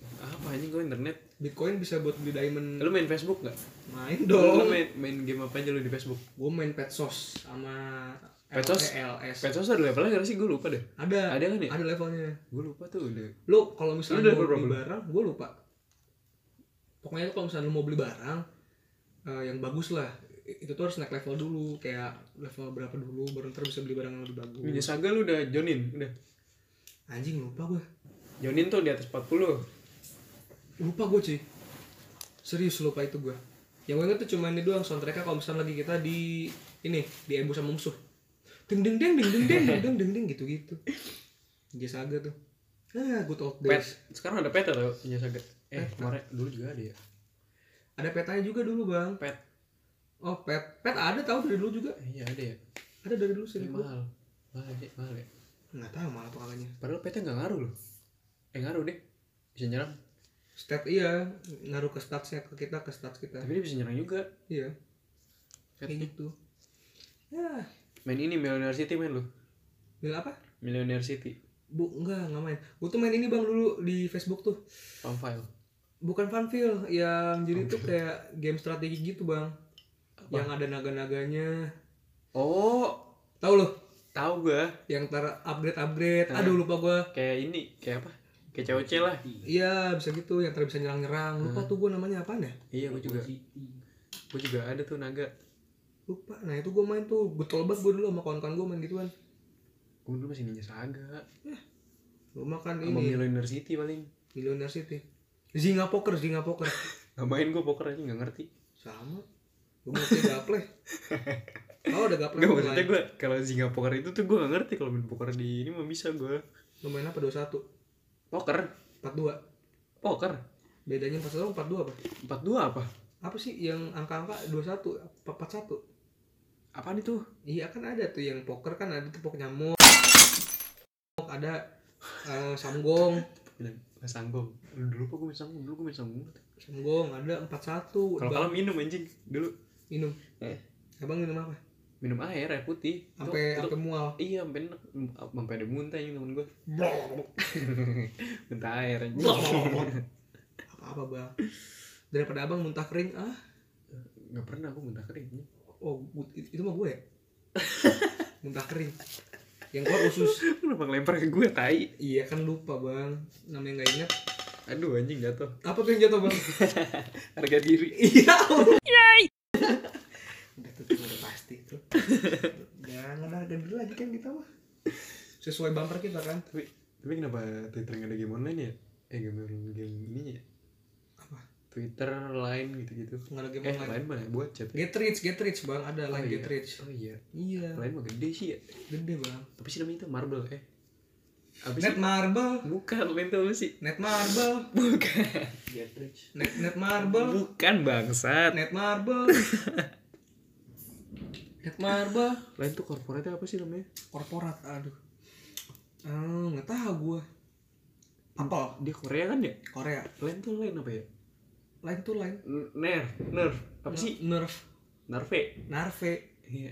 [SPEAKER 2] apa anjing gue internet
[SPEAKER 1] Bitcoin bisa buat beli diamond.
[SPEAKER 2] lu main facebook nggak
[SPEAKER 1] Main
[SPEAKER 2] lu
[SPEAKER 1] dong.
[SPEAKER 2] main, main game apa aja lu di facebook
[SPEAKER 1] gue main pet sauce sama
[SPEAKER 2] Pet Sauce?
[SPEAKER 1] LS
[SPEAKER 2] Pesos ada levelnya gak sih gue lupa deh
[SPEAKER 1] ada
[SPEAKER 2] Ada kan ya?
[SPEAKER 1] ada levelnya
[SPEAKER 2] gue lupa tuh udah
[SPEAKER 1] lu kalau
[SPEAKER 2] Lu
[SPEAKER 1] misalnya
[SPEAKER 2] udah
[SPEAKER 1] mau beli
[SPEAKER 2] berapa?
[SPEAKER 1] barang gue lupa pokoknya kalau misalnya lu mau beli barang eh, yang bagus lah I- itu tuh harus naik level dulu kayak level berapa dulu baru ntar bisa beli barang yang lebih
[SPEAKER 2] Ninja
[SPEAKER 1] bagus
[SPEAKER 2] Saga lu udah joinin udah
[SPEAKER 1] anjing lupa gue
[SPEAKER 2] joinin tuh di atas 40
[SPEAKER 1] lupa gue cuy serius lupa itu gue yang gue inget tuh cuma ini doang soundtracknya kalau misalnya lagi kita di ini di embus sama musuh ding ding deng ding ding deng ding deng ding ding gitu gitu dia saga tuh ah good old
[SPEAKER 2] Pet.
[SPEAKER 1] days
[SPEAKER 2] Sekarang ada peta tau Ninja Saga. Eh, kemarin dulu juga ada ya.
[SPEAKER 1] ada petanya juga dulu bang
[SPEAKER 2] Pet.
[SPEAKER 1] oh pet pet ada tahu dari dulu juga
[SPEAKER 2] Eh, Iya ada ya.
[SPEAKER 1] ada dari dulu
[SPEAKER 2] Tapi
[SPEAKER 1] sering gue
[SPEAKER 2] mahal. Mahal ya, mahal ya.
[SPEAKER 1] nggak tahu malah pokoknya
[SPEAKER 2] Padahal peta nggak ngaruh loh. Eh ngaruh deh. Bisa nyerang.
[SPEAKER 1] step iya ngaruh ke statsnya ke kita ke stats kita
[SPEAKER 2] Tapi dia bisa nyerang juga.
[SPEAKER 1] iya
[SPEAKER 2] Pet.
[SPEAKER 1] kayak gitu ya
[SPEAKER 2] Main ini Millionaire City main lo.
[SPEAKER 1] Mil apa?
[SPEAKER 4] Millionaire City.
[SPEAKER 1] Bu, enggak, enggak main. Gue tuh main ini bang dulu di Facebook tuh.
[SPEAKER 2] Palm file.
[SPEAKER 1] Bukan Funfield, yang jadi tuh kayak game strategi gitu bang. Yang ada naga-naganya.
[SPEAKER 4] Oh,
[SPEAKER 1] Tahu loh,
[SPEAKER 4] tahu gua.
[SPEAKER 1] yang tar upgrade-upgrade.
[SPEAKER 2] Iya.
[SPEAKER 1] Aduh lupa gua.
[SPEAKER 4] Kayak ini, kayak apa? Kayak COC lah.
[SPEAKER 1] Iya, bisa gitu. Yang tar bisa nyerang-nyerang. Lupa tuh gua namanya apaan ya?
[SPEAKER 4] Iya, gua juga.
[SPEAKER 2] Gue juga ada tuh naga.
[SPEAKER 1] Lupa. Nah itu gua main tuh. Betul banget gua dulu sama kawan-kawan gua main gituan.
[SPEAKER 2] Gue dulu masih ninja saga.
[SPEAKER 1] Lu makan
[SPEAKER 2] Sama
[SPEAKER 1] ini,
[SPEAKER 2] Millionaire City paling.
[SPEAKER 1] Millionaire City. Zinga Poker, Zinga Poker.
[SPEAKER 2] Gak main gue poker aja gak ngerti.
[SPEAKER 1] Sama. Gua ngerti gaple. Tahu ada gaple
[SPEAKER 2] Gak
[SPEAKER 1] online.
[SPEAKER 2] maksudnya gue kalau zinga poker itu tuh gue gak ngerti kalau main poker di ini mah bisa gue.
[SPEAKER 1] Lu main apa? 21?
[SPEAKER 2] Poker,
[SPEAKER 1] 42?
[SPEAKER 2] poker.
[SPEAKER 1] Bedanya 41 42 apa?
[SPEAKER 2] 42 apa?
[SPEAKER 1] Apa sih yang angka-angka 21 apa 41?
[SPEAKER 2] Apaan itu?
[SPEAKER 1] Iya kan ada tuh yang poker kan ada tuh pok nyamuk. Ada eh, samgong,
[SPEAKER 2] Mas Sanggong. Dulu kok gue main Sanggong, dulu gue main Sanggong.
[SPEAKER 1] samgong ada 41.
[SPEAKER 2] Kalau
[SPEAKER 1] Bang,
[SPEAKER 2] kalah minum anjing dulu.
[SPEAKER 1] minum.
[SPEAKER 2] Eh.
[SPEAKER 1] Abang minum apa?
[SPEAKER 2] Minum air, air putih. Itu-
[SPEAKER 1] Sampai
[SPEAKER 2] itu-
[SPEAKER 1] sampai mual.
[SPEAKER 2] Iya, sampai enak. sampai ada muntah yang temen gue. Muntah air anjing.
[SPEAKER 1] Apa-apa, Bang. Daripada abang muntah kering, ah.
[SPEAKER 2] Gak pernah gue muntah kering.
[SPEAKER 1] Oh, bu- itu mah gue ya. muntah kering. Yang keluar usus.
[SPEAKER 2] Lu Kenapa ngelempar ke gue tai?
[SPEAKER 1] Iya kan lupa, Bang. Namanya nggak ingat.
[SPEAKER 2] Aduh anjing jatuh.
[SPEAKER 1] Apa tuh yang jatuh, Bang?
[SPEAKER 2] Harga diri.
[SPEAKER 1] Iya. Udah tuh udah pasti itu. Jangan ada dulu lagi kan kita mah. Sesuai bumper kita kan.
[SPEAKER 2] Tapi tapi kenapa Twitter gak ada game online ya? Eh game game ini ya.
[SPEAKER 1] Apa?
[SPEAKER 2] Twitter, Line gitu-gitu.
[SPEAKER 1] Nggak ada game
[SPEAKER 2] Eh,
[SPEAKER 1] online.
[SPEAKER 2] Line mah buat chat.
[SPEAKER 1] Get rich, get rich bang. Ada
[SPEAKER 2] Oh
[SPEAKER 1] line
[SPEAKER 2] iya.
[SPEAKER 1] get rich.
[SPEAKER 2] Oh iya.
[SPEAKER 1] Iya.
[SPEAKER 2] Line mah gede sih ya.
[SPEAKER 1] Gede bang.
[SPEAKER 2] Apa sih namanya itu? Marble eh. Abis
[SPEAKER 1] Net marble.
[SPEAKER 2] Bukan, Line tuh apa sih?
[SPEAKER 1] Net marble.
[SPEAKER 2] Bukan.
[SPEAKER 1] Net net marble.
[SPEAKER 2] Bukan bangsat.
[SPEAKER 1] Net marble. net marble.
[SPEAKER 2] Line tuh korporatnya apa sih namanya?
[SPEAKER 1] Korporat. Aduh. Ah, nggak tahu gua. Apple.
[SPEAKER 2] Di Korea kan ya?
[SPEAKER 1] Korea.
[SPEAKER 2] Line tuh Line apa ya?
[SPEAKER 1] Line tuh line.
[SPEAKER 2] N- Nerf, Nerf. Apa sih?
[SPEAKER 1] Nerf.
[SPEAKER 2] Nerve.
[SPEAKER 1] Narve.
[SPEAKER 2] Iya.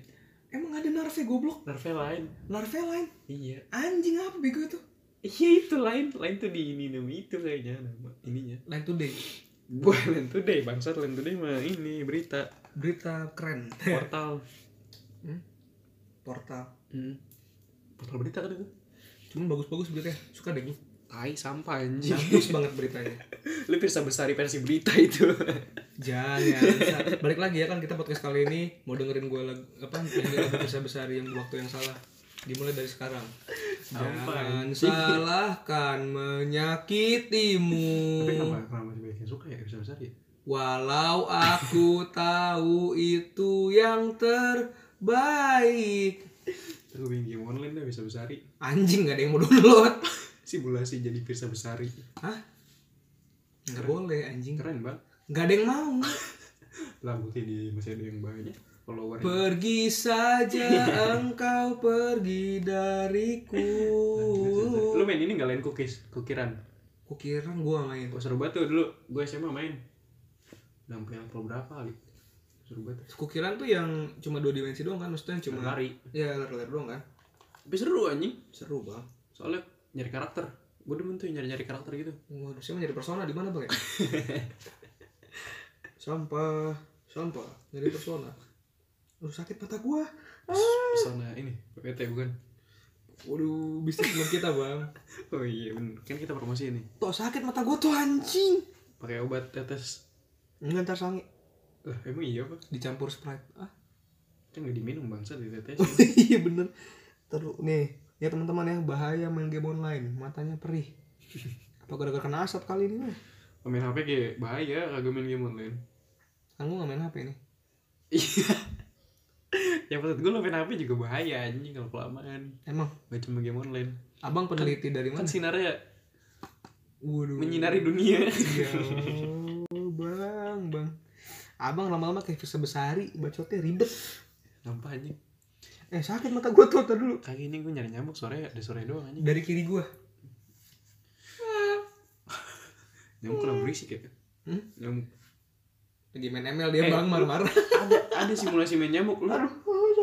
[SPEAKER 1] Emang ada narve goblok?
[SPEAKER 2] Nerve lain.
[SPEAKER 1] Larve lain.
[SPEAKER 2] Iya.
[SPEAKER 1] Anjing apa bego itu?
[SPEAKER 2] Iya itu lain, lain tuh di ini nama itu kayaknya nama ininya.
[SPEAKER 1] Line Today.
[SPEAKER 2] Buah lain today bangsat lain today mah ini berita
[SPEAKER 1] Berita keren.
[SPEAKER 2] portal.
[SPEAKER 1] Portal.
[SPEAKER 2] Hmm. Portal berita kan itu?
[SPEAKER 1] Cuman bagus-bagus beritanya. Suka deh gue.
[SPEAKER 2] Tai sampah anjing.
[SPEAKER 1] Bagus banget beritanya.
[SPEAKER 2] Nah, Lu pirsa besari versi berita itu.
[SPEAKER 1] Jangan. Sa. Balik lagi ya kan kita podcast kali ini mau dengerin gue lagu apa nyanyi lagu besar-besar yang waktu yang salah. Dimulai dari sekarang. Jangan salahkan menyakitimu.
[SPEAKER 2] kenapa masih banyak yang suka ya pirsa besari?
[SPEAKER 1] Walau aku tahu itu yang terbaik.
[SPEAKER 2] Terus gue game online dah pirsa besari.
[SPEAKER 1] Anjing gak ada yang mau download.
[SPEAKER 2] Simulasi jadi pirsa besari.
[SPEAKER 1] Hah? Nggak boleh anjing.
[SPEAKER 2] Keren banget.
[SPEAKER 1] Nggak ada yang mau.
[SPEAKER 2] Lah bukti di masih ada yang banyak follower.
[SPEAKER 1] pergi saja engkau pergi dariku.
[SPEAKER 2] Lu main ini nggak lain cookies, kukiran.
[SPEAKER 1] Kukira gua main.
[SPEAKER 2] Gue seru banget tuh dulu, gue SMA main Sampai yang pro berapa kali Seru banget
[SPEAKER 1] Kukiran tuh yang cuma dua dimensi doang kan maksudnya
[SPEAKER 2] Cuma
[SPEAKER 1] cuma
[SPEAKER 2] lari
[SPEAKER 1] ya ler doang kan.
[SPEAKER 2] Tapi seru anjing
[SPEAKER 1] Seru, Bang.
[SPEAKER 2] Soalnya nyari karakter Gue demen tuh nyari-nyari karakter gitu
[SPEAKER 1] Waduh, saya menjadi persona di mana, Bang? ya? sampah, sampah, jadi persona. Lu sakit mata gua.
[SPEAKER 2] Pesona ini, PT bukan
[SPEAKER 1] Waduh, bisnis teman kita, Bang.
[SPEAKER 2] Oh iya bener, kan kita promosi ini
[SPEAKER 1] Tuh sakit mata gua tuh anjing.
[SPEAKER 2] pakai obat tetes
[SPEAKER 1] Ngantar sangi
[SPEAKER 2] Lah emang iya apa?
[SPEAKER 1] dicampur Sprite. Ah.
[SPEAKER 2] Kan gak diminum bangsa di tetes
[SPEAKER 1] iya bener terus nih ya teman-teman ya bahaya main game online matanya perih apa gara-gara kena asap kali ini mah
[SPEAKER 2] Main HP kayak bahaya kagak main game online
[SPEAKER 1] kan gue nggak main hp nih
[SPEAKER 2] Iya Ya maksud gue lo main HP juga bahaya anjing kalau kelamaan
[SPEAKER 1] emang
[SPEAKER 2] Gak cuma game online
[SPEAKER 1] abang peneliti dari
[SPEAKER 2] Kan
[SPEAKER 1] mana
[SPEAKER 2] sinarnya
[SPEAKER 1] waduh
[SPEAKER 2] menyinari dunia
[SPEAKER 1] ya Allah, bang bang abang lama-lama kayak Firsa Besari bacotnya ribet
[SPEAKER 2] Sampah anjing
[SPEAKER 1] eh sakit mata gue tuh tar dulu
[SPEAKER 2] Kali ini gue nyari nyamuk sore ada sore doang anjing.
[SPEAKER 1] dari kiri gue
[SPEAKER 2] Nyamuk kenapa berisik ya?
[SPEAKER 1] Hmm?
[SPEAKER 2] Nyamuk.
[SPEAKER 1] lagi main ML dia
[SPEAKER 2] Eh,
[SPEAKER 1] bang marah-marah
[SPEAKER 2] ada ada simulasi main nyamuk lu.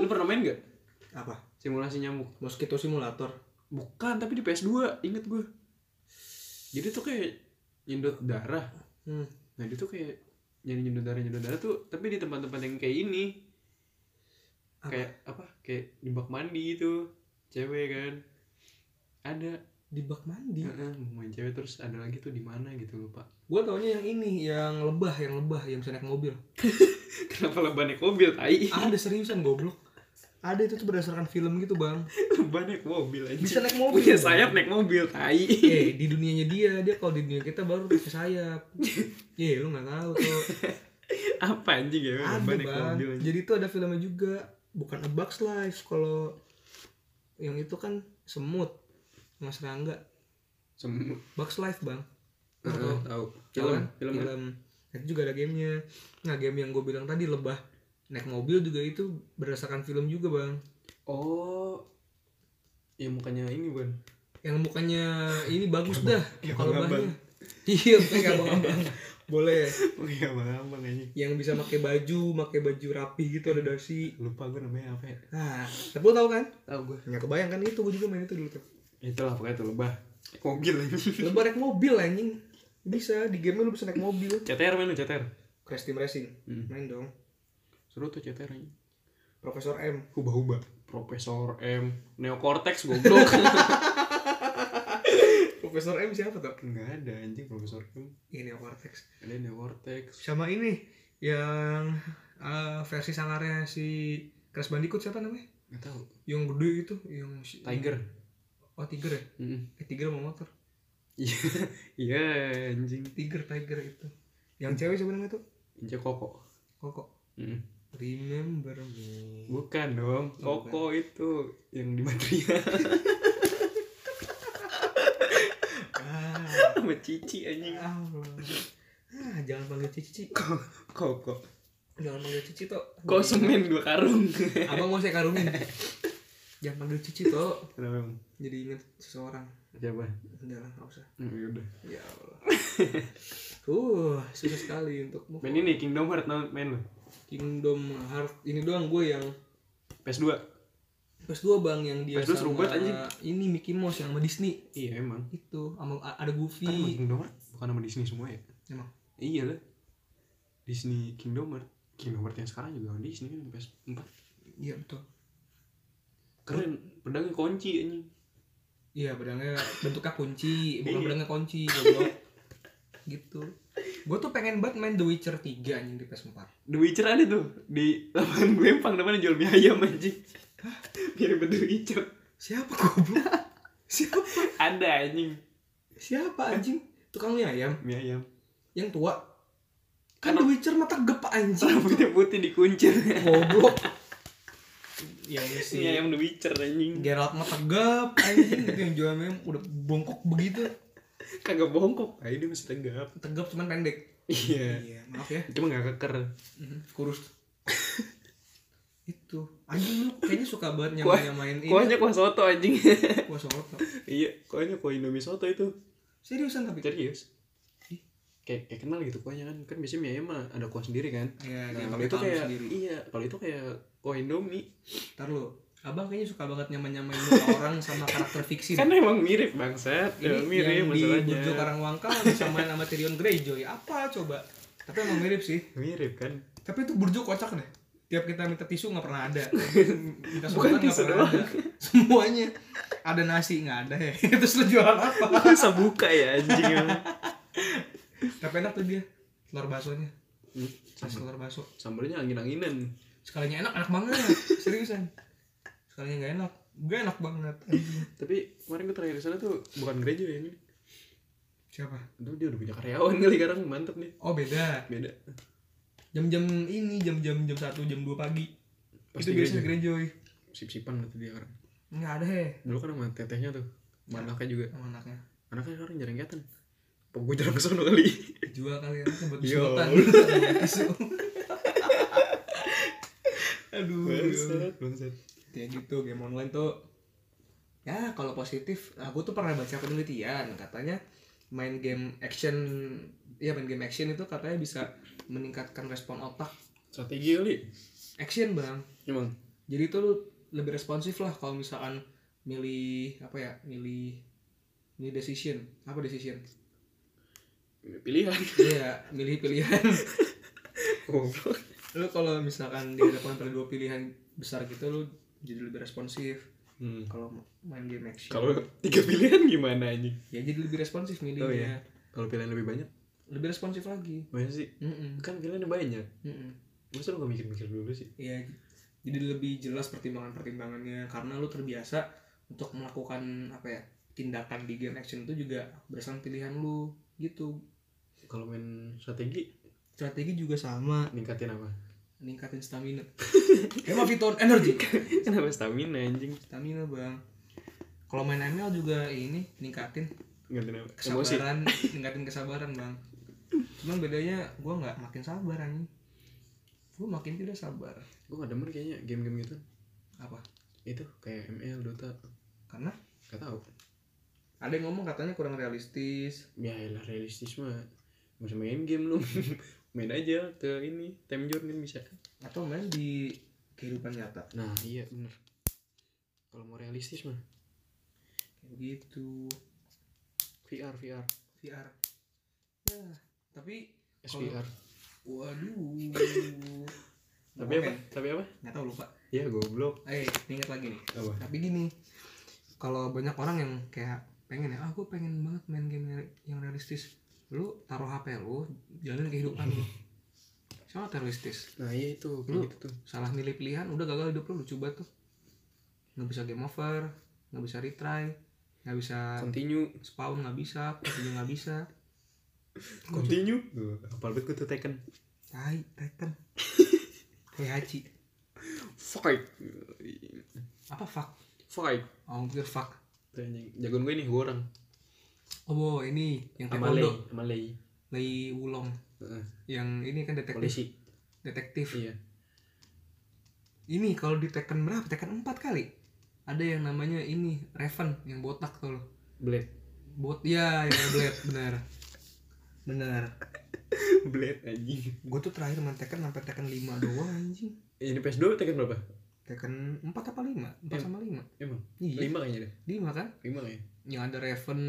[SPEAKER 2] Lu pernah main gak?
[SPEAKER 1] apa
[SPEAKER 2] Simulasi nyamuk.
[SPEAKER 1] mosquito simulator
[SPEAKER 2] Bukan, tapi di PS2, inget gue. Jadi tuh kayak nyedot darah.
[SPEAKER 5] Hmm.
[SPEAKER 2] Nah, dia tuh kayak jadi nyedot darah, nyedot darah tuh, tapi di tempat-tempat yang kayak ini.
[SPEAKER 1] Apa?
[SPEAKER 2] Kayak apa? Kayak di bak mandi gitu. Cewek kan. Ada.
[SPEAKER 1] di bak mandi
[SPEAKER 2] Heeh, main cewek terus ada lagi tuh di mana gitu lupa.
[SPEAKER 1] gue taunya yang ini yang lebah yang lebah yang bisa naik mobil
[SPEAKER 2] Kenapa leban naik mobil tai?
[SPEAKER 1] ada seriusan goblok ada itu tuh berdasarkan film gitu bang
[SPEAKER 2] leban naik mobil aja.
[SPEAKER 1] bisa naik mobil
[SPEAKER 2] Punya sayap naik mobil tai.
[SPEAKER 1] eh di dunianya dia dia kalau di dunia kita baru pakai sayap ye lu nggak tahu tuh
[SPEAKER 2] apa anjing ya?
[SPEAKER 1] ada
[SPEAKER 2] Leban naik
[SPEAKER 1] bang
[SPEAKER 2] mobil. anjing.
[SPEAKER 1] jadi itu ada filmnya juga bukan A Bug's Life kalau yang itu kan semut mas Rangga
[SPEAKER 2] Semut.
[SPEAKER 1] Bugs Life bang
[SPEAKER 2] Heeh,
[SPEAKER 1] Atau-
[SPEAKER 2] tahu.
[SPEAKER 1] Tahu
[SPEAKER 2] Film,
[SPEAKER 1] kan?
[SPEAKER 2] film. kan?
[SPEAKER 1] Nah, itu juga ada gamenya nah game yang gue bilang tadi lebah naik mobil juga itu berdasarkan film juga bang
[SPEAKER 2] Oh. Ya mukanya ini, Bang.
[SPEAKER 1] yang mukanya ini bagus dah
[SPEAKER 2] kayak
[SPEAKER 1] muka
[SPEAKER 2] Bang
[SPEAKER 1] lebahnya iya kayak abang-abang boleh
[SPEAKER 2] Oh iya, Bang, Bang anjing.
[SPEAKER 1] yang bisa pakai baju pakai baju rapi gitu ada dasi
[SPEAKER 2] Lupa gue namanya apa ya?
[SPEAKER 1] nah tapi lo tau kan
[SPEAKER 2] Tahu gue.
[SPEAKER 1] nggak kebayang kan itu gue juga main itu dulu tuh
[SPEAKER 2] Itulah pokoknya itu lebah. Mobil anjing.
[SPEAKER 1] lebar naik mobil anjing bisa di game lu bisa naik mobil
[SPEAKER 2] CTR main lu CTR.
[SPEAKER 1] crash team racing
[SPEAKER 2] Hmm.
[SPEAKER 1] main dong
[SPEAKER 2] Seru tuh CTR anjing.
[SPEAKER 1] profesor M
[SPEAKER 2] Huba-huba. Profesor M, Neocortex goblok.
[SPEAKER 1] profesor M siapa tuh
[SPEAKER 2] Enggak ada anjing Profesor M.
[SPEAKER 1] ini Cortex
[SPEAKER 2] Ada Neocortex.
[SPEAKER 1] sama ini yang eh, versi sangarnya si Crash Bandicoot siapa namanya
[SPEAKER 2] Enggak tahu.
[SPEAKER 1] yang gede itu yang si-
[SPEAKER 2] Tiger.
[SPEAKER 1] oh tiger ya
[SPEAKER 2] Mm-mm.
[SPEAKER 1] eh, tiger sama motor
[SPEAKER 2] Iya, iya anjing.
[SPEAKER 1] tiger tiger itu yang cewek siapa namanya tuh
[SPEAKER 2] Injak koko.
[SPEAKER 1] koko
[SPEAKER 2] Mm.
[SPEAKER 1] remember me
[SPEAKER 2] Bukan dong, koko itu yang di material
[SPEAKER 1] ah,
[SPEAKER 2] sama Cici anjing.
[SPEAKER 1] Allah. ah jangan panggil cici
[SPEAKER 2] Ko- Koko.
[SPEAKER 1] jangan panggil cici tuh
[SPEAKER 2] Kok semen dua karung.
[SPEAKER 1] Abang mau saya karunin. Jangan panggil cici toh.
[SPEAKER 2] Kenapa emang?
[SPEAKER 1] Jadi inget seseorang.
[SPEAKER 2] Siapa?
[SPEAKER 1] Enggak lah, nggak usah.
[SPEAKER 2] Hmm, ya udah.
[SPEAKER 1] Ya Allah. Uh, susah sekali untuk move
[SPEAKER 2] Main ini Kingdom Hearts no, main lu.
[SPEAKER 1] Kingdom Heart. Ini doang gue yang
[SPEAKER 2] PS2.
[SPEAKER 1] PS2 bang yang dia
[SPEAKER 2] PS2 seru banget, anjing.
[SPEAKER 1] ini Mickey Mouse yang sama Disney
[SPEAKER 2] Iya emang.
[SPEAKER 1] itu sama a- ada
[SPEAKER 2] Kan emang
[SPEAKER 1] Goofy
[SPEAKER 2] Kingdom Hearts bukan sama Disney semua ya?
[SPEAKER 1] emang
[SPEAKER 2] Iya lah. Disney Kingdom Hearts. Kingdom Hearts yang sekarang juga sama Disney kan PS4.
[SPEAKER 1] iya betul
[SPEAKER 2] Keren, pedangnya kunci anjing.
[SPEAKER 1] iya pedangnya bentuknya kunci bukan
[SPEAKER 2] Iya.
[SPEAKER 1] pedangnya kunci goblok. gitu gue tuh pengen banget main The Witcher 3 anjing di PS4
[SPEAKER 2] The Witcher ada tuh di lapangan Glempang namanya jual mie ayam anjing. Mirip The Witcher.
[SPEAKER 1] siapa goblok siapa
[SPEAKER 2] Ada anjing
[SPEAKER 1] Siapa anjing? Tukang mie ayam
[SPEAKER 2] mie ayam.
[SPEAKER 1] yang tua. Kan The Witcher mata gep anjing.
[SPEAKER 2] Rambutnya putih dikuncir.
[SPEAKER 1] Goblok. Yang si
[SPEAKER 2] mie ayam The Witcher anjing.
[SPEAKER 1] Geralt mata gep anjing gitu yang jual mie ayam udah bongkok begitu.
[SPEAKER 2] Kagak bongkok. Ayo dia masih tegap.
[SPEAKER 1] Tegap cuman pendek.
[SPEAKER 2] Iya.
[SPEAKER 1] Iya, maaf ya.
[SPEAKER 2] Cuma gak keker.
[SPEAKER 1] Mhm, Kurus. Itu. Anjing lu kayaknya suka banget
[SPEAKER 2] Kuah-
[SPEAKER 1] nyamain-nyamain ini.
[SPEAKER 2] Kuahnya kuah soto anjing.
[SPEAKER 1] Kuah soto.
[SPEAKER 2] iya, kuahnya kuah Indomie soto itu.
[SPEAKER 1] Seriusan tapi.
[SPEAKER 2] Serius. Ih, Kayak, kayak kenal gitu kuahnya kan. Kan biasanya mie ayam mah ada kuah sendiri kan.
[SPEAKER 1] Iya,
[SPEAKER 2] Nah,
[SPEAKER 1] dia
[SPEAKER 2] kalau
[SPEAKER 1] pakai
[SPEAKER 2] itu
[SPEAKER 1] tangan
[SPEAKER 2] kayak
[SPEAKER 1] sendiri.
[SPEAKER 2] iya, kalau itu kayak kuah Indomie.
[SPEAKER 1] Ntar lu. Abang kayaknya suka banget nyamain-nyamain muka orang sama karakter fiksi.
[SPEAKER 2] Kan emang mirip bangsat.
[SPEAKER 1] ini
[SPEAKER 2] Emang mirip
[SPEAKER 1] yang di
[SPEAKER 2] masalahnya.
[SPEAKER 1] Burjo Karangwangka bisa main sama Tyrion Greyjoy apa coba tapi emang mirip sih
[SPEAKER 2] Mirip kan.
[SPEAKER 1] tapi itu Burjo kocak deh tiap kita minta tisu nggak pernah ada minta sedotan
[SPEAKER 2] Bukan
[SPEAKER 1] nggak
[SPEAKER 2] tisu
[SPEAKER 1] pernah ada semuanya ada nasi nggak ada ya terus lu jualan apa
[SPEAKER 2] Masa buka ya anjing emang.
[SPEAKER 1] tapi enak tuh dia telur baksonya
[SPEAKER 2] Hmm,
[SPEAKER 1] pas telur bakso
[SPEAKER 2] Sambalnya angin-anginan.
[SPEAKER 1] sekalinya enak enak banget seriusan sekalinya nggak enak gue enak banget
[SPEAKER 2] Tapi kemarin gue terakhir di sana tuh bukan gereja ya ini.
[SPEAKER 1] siapa
[SPEAKER 2] Itu dia udah punya karyawan kali sekarang mantep nih.
[SPEAKER 1] oh beda
[SPEAKER 2] Beda.
[SPEAKER 1] jam-jam ini jam-jam jam satu jam 2 pagi
[SPEAKER 2] Pasti
[SPEAKER 1] itu biasanya
[SPEAKER 2] Greyjoy.
[SPEAKER 1] Greyjoy
[SPEAKER 2] Sip-sipan gitu dia sekarang.
[SPEAKER 1] nggak ada heh
[SPEAKER 2] Dulu kan sama tetehnya tuh. Sama anaknya juga.
[SPEAKER 1] sama anaknya
[SPEAKER 2] Anaknya sekarang jarang kelihatan. Apa gue jarang kesana kali.
[SPEAKER 1] jual kali ya buat
[SPEAKER 2] Yo.
[SPEAKER 1] sedotan Tisu. aduh aduh.
[SPEAKER 2] bangsat.
[SPEAKER 1] ya gitu game online tuh ya kalau positif aku tuh pernah baca penelitian katanya main game action ya main game action itu katanya bisa meningkatkan respon otak
[SPEAKER 2] Strategi kali.
[SPEAKER 1] action bang
[SPEAKER 2] Emang.
[SPEAKER 1] jadi tuh lu lebih responsif lah kalau misalkan milih apa ya milih milih decision apa decision
[SPEAKER 4] Pilihan.
[SPEAKER 1] iya milih pilihan
[SPEAKER 2] Oh.
[SPEAKER 1] lu kalau misalkan dihadapkan pada dua pilihan besar gitu lu jadi lebih responsif
[SPEAKER 2] Hmm.
[SPEAKER 1] kalau main game action
[SPEAKER 4] Kalau tiga pilihan gimana anjing?
[SPEAKER 1] ya jadi lebih responsif milihnya
[SPEAKER 2] Oh, iya. Kalau pilihan lebih banyak,
[SPEAKER 1] lebih responsif lagi
[SPEAKER 2] banyak sih.
[SPEAKER 1] Mm-mm.
[SPEAKER 2] Kan pilihannya banyak.
[SPEAKER 1] Mm-mm.
[SPEAKER 2] Masa lu gak mikir-mikir dulu sih?
[SPEAKER 1] Iya, jadi lebih jelas pertimbangan-pertimbangannya karena lu terbiasa untuk melakukan apa ya tindakan di game action itu juga berdasarkan pilihan lu gitu.
[SPEAKER 2] Kalau main strategi,
[SPEAKER 1] Strategi juga sama,
[SPEAKER 2] ningkatin apa?
[SPEAKER 1] meningkatin stamina. Emang Viton energi.
[SPEAKER 4] Kenapa stamina anjing?
[SPEAKER 1] Stamina, Bang. Kalau main ML juga ini ningkatin
[SPEAKER 4] Ganti apa? Emosi.
[SPEAKER 1] kesabaran, ningkatin kesabaran, Bang. Cuman bedanya gua nggak makin sabar anjing. Gua makin tidak sabar.
[SPEAKER 2] Gue gak demen kayaknya game-game gitu.
[SPEAKER 1] Apa?
[SPEAKER 2] Itu kayak ML, Dota.
[SPEAKER 1] Karena
[SPEAKER 2] Gak tau.
[SPEAKER 1] ada yang ngomong katanya kurang realistis,
[SPEAKER 2] Ya elah realistis mah. Gak usah main game lu. main aja ke ini. Time journey bisa.
[SPEAKER 1] atau main di kehidupan nyata
[SPEAKER 2] Nah iya bener. Kalau mau realistis mah.
[SPEAKER 1] kayak gitu
[SPEAKER 2] VR, VR.
[SPEAKER 1] VR ya tapi
[SPEAKER 2] SVR.
[SPEAKER 1] waduh
[SPEAKER 2] Tapi apa? Tapi apa?
[SPEAKER 1] nggak tahu lupa
[SPEAKER 2] Ya goblok.
[SPEAKER 1] eh ingat lagi nih
[SPEAKER 2] Apa?
[SPEAKER 1] tapi gini kalau banyak orang yang kayak pengen ya ah gue pengen banget main game yang- yang realistis lu taruh HP lu jalanin kehidupan lu sama realistis
[SPEAKER 2] Nah iya
[SPEAKER 1] Lu.
[SPEAKER 2] itu. Kayak gitu tuh.
[SPEAKER 1] salah milih pilihan udah gagal hidup lu lu coba tuh nggak bisa game over nggak bisa retry nggak bisa
[SPEAKER 2] Continue.
[SPEAKER 1] spawn nggak bisa juga nggak bisa
[SPEAKER 2] Continue. Apal banget gue tuh Tekken.
[SPEAKER 1] tai Tekken Heihachi
[SPEAKER 2] Fight.
[SPEAKER 1] apa fuck
[SPEAKER 2] Fight.
[SPEAKER 1] oh gue pikir fuck
[SPEAKER 2] Tuh, anjing. Jagoan gue nih, gue orang.
[SPEAKER 1] oh wow, ini yang
[SPEAKER 2] Sama Lei.
[SPEAKER 1] taekwondo
[SPEAKER 2] Sama Lei.
[SPEAKER 1] Lei Wulong
[SPEAKER 2] Heeh.
[SPEAKER 1] yang ini kan detektif
[SPEAKER 2] Polisi.
[SPEAKER 1] detektif
[SPEAKER 2] Iya.
[SPEAKER 1] ini kalau di Tekken berapa Tekken 4 kali ada yang namanya ini Raven yang botak tuh loh
[SPEAKER 2] Blade.
[SPEAKER 1] bot ya ya Blade benar benar
[SPEAKER 2] Blade anjing.
[SPEAKER 1] gue tuh terakhir main Tekken sampai Tekken 5 doang anjing
[SPEAKER 2] Ini PS2 Tekken berapa?
[SPEAKER 1] Tekken 4 apa 5? 4
[SPEAKER 2] Em-
[SPEAKER 1] sama 5
[SPEAKER 2] Emang?
[SPEAKER 1] iya
[SPEAKER 2] Lima kayaknya deh.
[SPEAKER 1] 5 kan
[SPEAKER 2] Lima ya?
[SPEAKER 1] yang ada Raven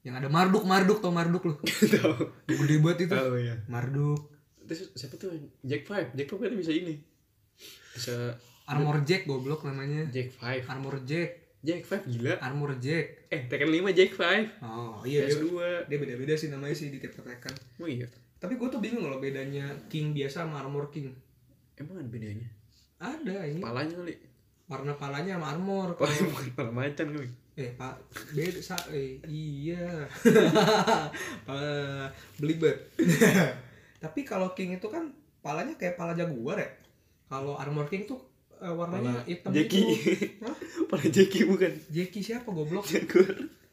[SPEAKER 1] yang ada Marduk Marduk tau Marduk lu
[SPEAKER 2] Tahu.
[SPEAKER 1] gede banget itu
[SPEAKER 2] Tahu ya.
[SPEAKER 1] Marduk
[SPEAKER 2] Terus siapa tuh? Jack Five. Jack Five kan bisa ini. Bisa
[SPEAKER 1] Armor Jack goblok namanya
[SPEAKER 2] Jack Five.
[SPEAKER 1] Armor Jack
[SPEAKER 2] Jack Five gila.
[SPEAKER 1] Armor Jack
[SPEAKER 2] Eh, Tekken 5 Jack Five.
[SPEAKER 1] oh iya dia,
[SPEAKER 2] PS2.
[SPEAKER 1] dia beda-beda sih namanya sih di tiap Tekken
[SPEAKER 2] Oh iya.
[SPEAKER 1] tapi gue tuh bingung loh bedanya King biasa sama Armor King
[SPEAKER 2] Emang ada bedanya?
[SPEAKER 1] ada ini
[SPEAKER 2] Palanya kali.
[SPEAKER 1] Iya. warna palanya sama armor
[SPEAKER 2] Pala bukan pala macan kali.
[SPEAKER 1] eh pak beda sa eh, iya pala belibet tapi kalau king itu kan palanya kayak pala jaguar ya kalau armor king tuh eh, warnanya
[SPEAKER 2] Pala
[SPEAKER 1] hitam
[SPEAKER 2] Jackie.
[SPEAKER 1] gitu Hah?
[SPEAKER 2] Pala Jackie bukan.
[SPEAKER 1] Jackie siapa goblok
[SPEAKER 2] Jaguar.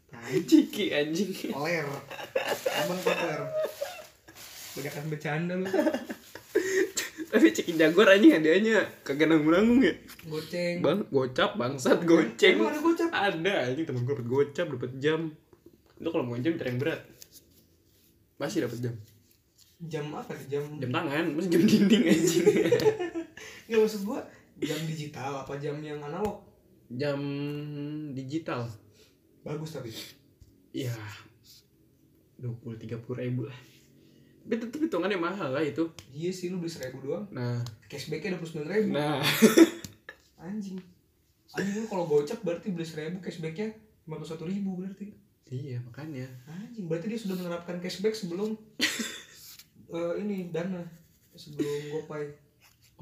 [SPEAKER 1] tai
[SPEAKER 2] Jackie anjing.
[SPEAKER 1] koler abang koler kebanyakan kan bercanda lu
[SPEAKER 2] Tapi cekin Jaguar anjing hadiahnya kagak nanggung-nanggung ya.
[SPEAKER 1] goceng
[SPEAKER 2] Bang, gocap, bangsat, goceng.
[SPEAKER 1] Emang ada gocap
[SPEAKER 2] Ada anjing temen gue dapet gocap, dapet jam. Lu kalau mau jam cari yang berat. Masih dapet jam.
[SPEAKER 1] jam apa nih? jam
[SPEAKER 2] Jam tangan, masih jam dinding anjing.
[SPEAKER 1] nggak maksud gua jam digital apa jam yang analog
[SPEAKER 2] jam digital.
[SPEAKER 1] bagus tapi
[SPEAKER 2] Iya. 20 30 ribu lah. Tapi tetep hitungannya mahal lah itu.
[SPEAKER 1] iya sih lu beli seribu doang
[SPEAKER 2] Nah,
[SPEAKER 1] cashbacknya dua puluh sembilan ribu
[SPEAKER 2] nah.
[SPEAKER 1] anjing anjing lu kalau gocap berarti beli seribu cashbacknya lima puluh satu ribu berarti
[SPEAKER 2] iya, makanya.
[SPEAKER 1] anjing berarti dia sudah menerapkan cashback sebelum eh, ini dana sebelum gopay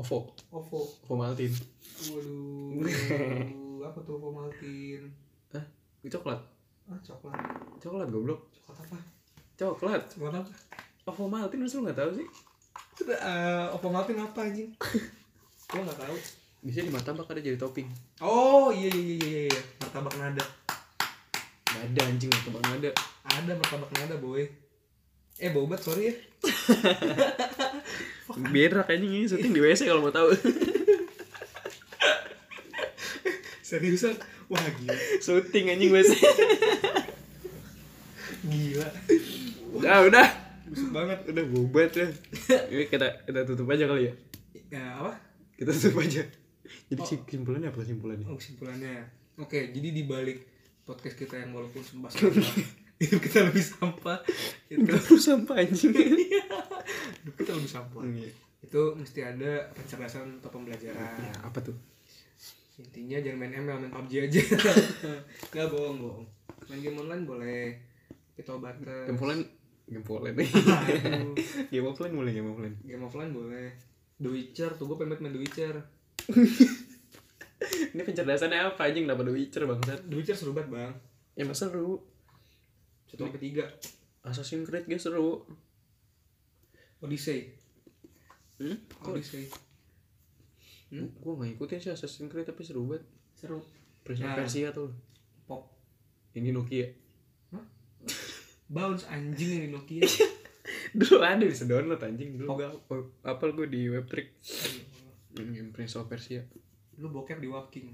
[SPEAKER 2] OVO,
[SPEAKER 1] ovo
[SPEAKER 2] OVO Maltin.
[SPEAKER 1] waduh waduh, apa tuh ovo maltin
[SPEAKER 2] Itu coklat.
[SPEAKER 1] ah coklat
[SPEAKER 2] Coklat goblok.
[SPEAKER 1] coklat apa
[SPEAKER 2] Coklat.
[SPEAKER 1] coklat apa
[SPEAKER 2] OVO Maltin masa lu enggak tahu sih?
[SPEAKER 1] sudah eh, ovo maltin apa anjing gua nggak tahu
[SPEAKER 2] Bisa di martabak ada jadi topping.
[SPEAKER 1] oh iya iya iya iya, iya martabak nada
[SPEAKER 2] Nggak ada anjing, martabak nggak ada.
[SPEAKER 1] ada martabak nada boy eh bau banget sorry ya
[SPEAKER 2] Berak anjing ini syuting di WC kalau mau tahu.
[SPEAKER 1] seriusan wah gila
[SPEAKER 2] syuting anjing WC.
[SPEAKER 1] gila
[SPEAKER 2] Udah, udah.
[SPEAKER 1] busuk banget
[SPEAKER 2] Udah bobat ya. Ini kita kita tutup aja kali ya.
[SPEAKER 1] ya apa
[SPEAKER 2] Oh. Kita tutup aja. Jadi kesimpulannya apa kesimpulannya?
[SPEAKER 1] oh, kesimpulannya Oke, jadi di balik podcast kita yang walaupun sembah sampah, hidup kita lebih sampah, itu
[SPEAKER 2] Gak perlu sampah anjing
[SPEAKER 1] hidup kita lebih sampah. Itu mesti ada pencerdasan atau pembelajaran.
[SPEAKER 2] apa tuh?
[SPEAKER 1] Intinya jangan main ML, main PUBG aja. Gak bohong, bohong. Main game online boleh. Kita obatan.
[SPEAKER 2] Game online Game online
[SPEAKER 1] Aduh.
[SPEAKER 2] Game offline mulai game offline
[SPEAKER 1] Game offline boleh. The Witcher, tuh gue pengen banget main The Witcher.
[SPEAKER 2] Ini pencerdasannya apa anjing Kenapa The Witcher bangsat
[SPEAKER 1] The Witcher seru banget bang.
[SPEAKER 2] Ya masa seru
[SPEAKER 1] Satu sampai tiga.
[SPEAKER 2] Assassin's Creed gak seru
[SPEAKER 1] Odyssey.
[SPEAKER 2] Hmm? Kok
[SPEAKER 1] Odyssey.
[SPEAKER 2] hmm? Gue gak ngikutin sih Assassin's Creed tapi seru banget
[SPEAKER 1] Seru.
[SPEAKER 2] Prince of
[SPEAKER 1] Nah.
[SPEAKER 2] Persia tuh
[SPEAKER 1] Pop.
[SPEAKER 2] Ini Nokia
[SPEAKER 1] Bounce anjing yang di Nokia.
[SPEAKER 2] Dulu ada bisa download anjing Dulu
[SPEAKER 1] Pop.
[SPEAKER 2] gak Apal gue di webtrick Hmm, Game Prince of Persia
[SPEAKER 1] lu bokep di walking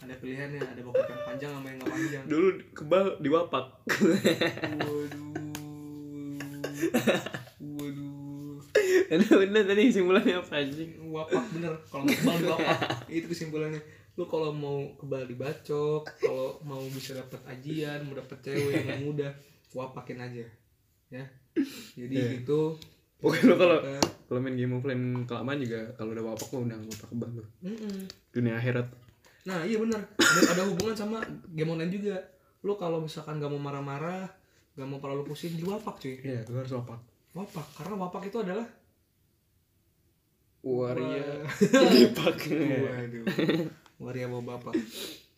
[SPEAKER 1] ada pilihannya ada bokep yang panjang sama yang gak panjang
[SPEAKER 2] Dulu kebal di wapak
[SPEAKER 1] waduh waduh
[SPEAKER 2] Bener-bener tadi kesimpulannya apa anjing
[SPEAKER 1] wapak bener kalau mau kebal di wapak itu kesimpulannya lu kalau mau kebal dibacok kalau mau bisa dapat ajian mau dapat cewek yang mudah wapakin aja ya jadi
[SPEAKER 2] Iya.
[SPEAKER 1] gitu
[SPEAKER 2] Pokoknya lu kalau
[SPEAKER 1] Kita-
[SPEAKER 2] kalau main game offline kelamaan juga kalau udah wapak mah udah nggak apa kebal lu.
[SPEAKER 1] Mm-mm.
[SPEAKER 2] Dunia akhirat.
[SPEAKER 1] Nah iya benar Dan ada hubungan sama game online juga Lo kalau misalkan gak mau marah-marah Gak mau terlalu pusing Di wapak cuy
[SPEAKER 2] Iya, lu harus wapak.
[SPEAKER 1] Wapak Karena wapak itu adalah
[SPEAKER 2] Waria Iya,
[SPEAKER 1] Wah.
[SPEAKER 2] dipak.
[SPEAKER 1] Waduh Waria mau bapak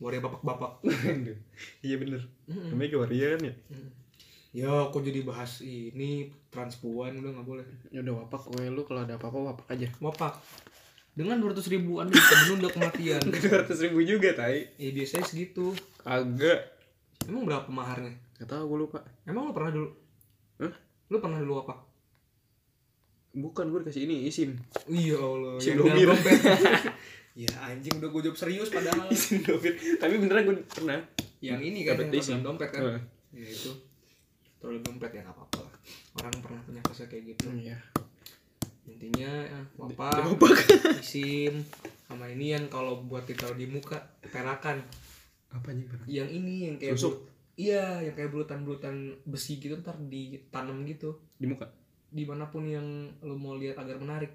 [SPEAKER 1] Waria bapak-bapak
[SPEAKER 2] Aduh. Iya bener. Namanya juga waria kan ya.
[SPEAKER 1] Mm. Ya aku jadi bahas ini Transpuan udah gak boleh
[SPEAKER 2] Ya udah wapak gue lu kalau ada apa-apa wapak aja.
[SPEAKER 1] Wapak Dengan 200 ribu anda bisa menunda kematian
[SPEAKER 2] Dua ratus ribu juga tai.
[SPEAKER 1] Ya biasanya segitu
[SPEAKER 2] Kagak.
[SPEAKER 1] Emang berapa maharnya?
[SPEAKER 2] Gak tau gue lupa.
[SPEAKER 1] Emang lo pernah dulu?
[SPEAKER 2] Hah?
[SPEAKER 1] Lo pernah dulu wapak?
[SPEAKER 2] Bukan gue dikasih ini isim.
[SPEAKER 1] Iya Allah,
[SPEAKER 2] Si
[SPEAKER 1] yang
[SPEAKER 2] Domir.
[SPEAKER 1] dalam dompet. ya anjing udah gue jawab serius padahal.
[SPEAKER 2] Isim dompet. Tapi beneran gue pernah.
[SPEAKER 1] yang ini kan yang
[SPEAKER 2] Dapat
[SPEAKER 1] pas
[SPEAKER 2] isi.
[SPEAKER 1] dalam dompet kan.
[SPEAKER 2] Heeh.
[SPEAKER 1] Ya itu. Terlalu dompet ya nggak apa-apa lah. Orang pernah punya kasus kayak gitu.
[SPEAKER 2] Iya.
[SPEAKER 1] Intinya ya,
[SPEAKER 2] Di
[SPEAKER 1] apa?
[SPEAKER 2] wapak.
[SPEAKER 1] Isim sama ini yang kalau buat ditaruh di muka perakan.
[SPEAKER 2] Apa anjing pernah?
[SPEAKER 1] Yang ini yang kayak
[SPEAKER 2] Susuk.
[SPEAKER 1] bulut- Iya, yang kayak bulutan-bulutan besi gitu ntar ditanam gitu
[SPEAKER 2] Di muka.
[SPEAKER 1] dimanapun yang lo mau lihat agar menarik.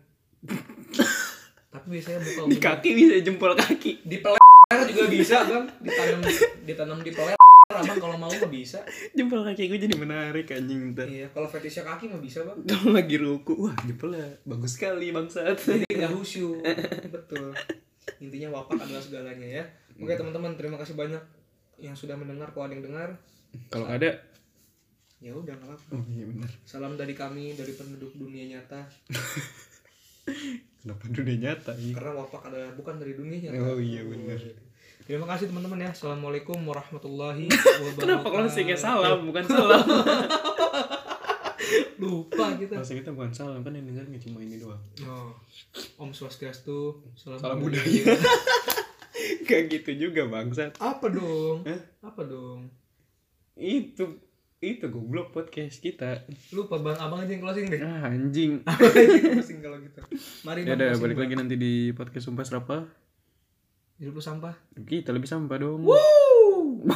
[SPEAKER 1] Tapi biasanya muka
[SPEAKER 2] Di
[SPEAKER 1] umumnya-
[SPEAKER 2] kaki bisa jempol kaki.
[SPEAKER 1] di peler juga bisa bang ditanam ditanam di peler abang kalau mau mah bisa
[SPEAKER 2] Jempol kaki gue jadi menarik anjing ntar.
[SPEAKER 1] iya kalau fetishnya kaki mah bisa bang
[SPEAKER 2] Kalau lagi ruku, wah jempolnya bagus sekali bangsat.
[SPEAKER 1] jadi nggak husu betul intinya wapak adalah segalanya ya oke teman-teman terima kasih banyak yang sudah mendengar kalau ada yang dengar
[SPEAKER 2] Kalau ada,
[SPEAKER 1] ya udah nggak apa
[SPEAKER 2] oh iya benar.
[SPEAKER 1] salam dari kami dari penduduk dunia nyata
[SPEAKER 2] Kenapa dunia nyata? Iya.
[SPEAKER 1] karena wapak adalah bukan dari dunia nyata
[SPEAKER 2] Oh iya benar.
[SPEAKER 1] terima kasih teman-teman ya assalamualaikum warahmatullahi wabarakatuh
[SPEAKER 2] Kenapa closingnya salam bukan salam?
[SPEAKER 1] lupa kita
[SPEAKER 2] Closing kita bukan salam kan yang denger nggak cuma ini doang.
[SPEAKER 1] oh. Om Swastiastu, salam,
[SPEAKER 2] Salam budaya. Gak gitu juga bangsat.
[SPEAKER 1] apa dong
[SPEAKER 2] Hah?
[SPEAKER 1] apa dong
[SPEAKER 2] Itu itu goblok podcast kita.
[SPEAKER 1] lupa bang abang aja yang closing deh
[SPEAKER 2] Ah anjing.
[SPEAKER 1] abang aja yang closing kalau gitu mari
[SPEAKER 2] Ya
[SPEAKER 1] bang
[SPEAKER 2] udah
[SPEAKER 1] closing,
[SPEAKER 2] balik
[SPEAKER 1] Bang.
[SPEAKER 2] lagi nanti di podcast sumpah serapa.
[SPEAKER 1] hidup lu sampah
[SPEAKER 2] Kita lebih sampah dong.
[SPEAKER 1] Woo!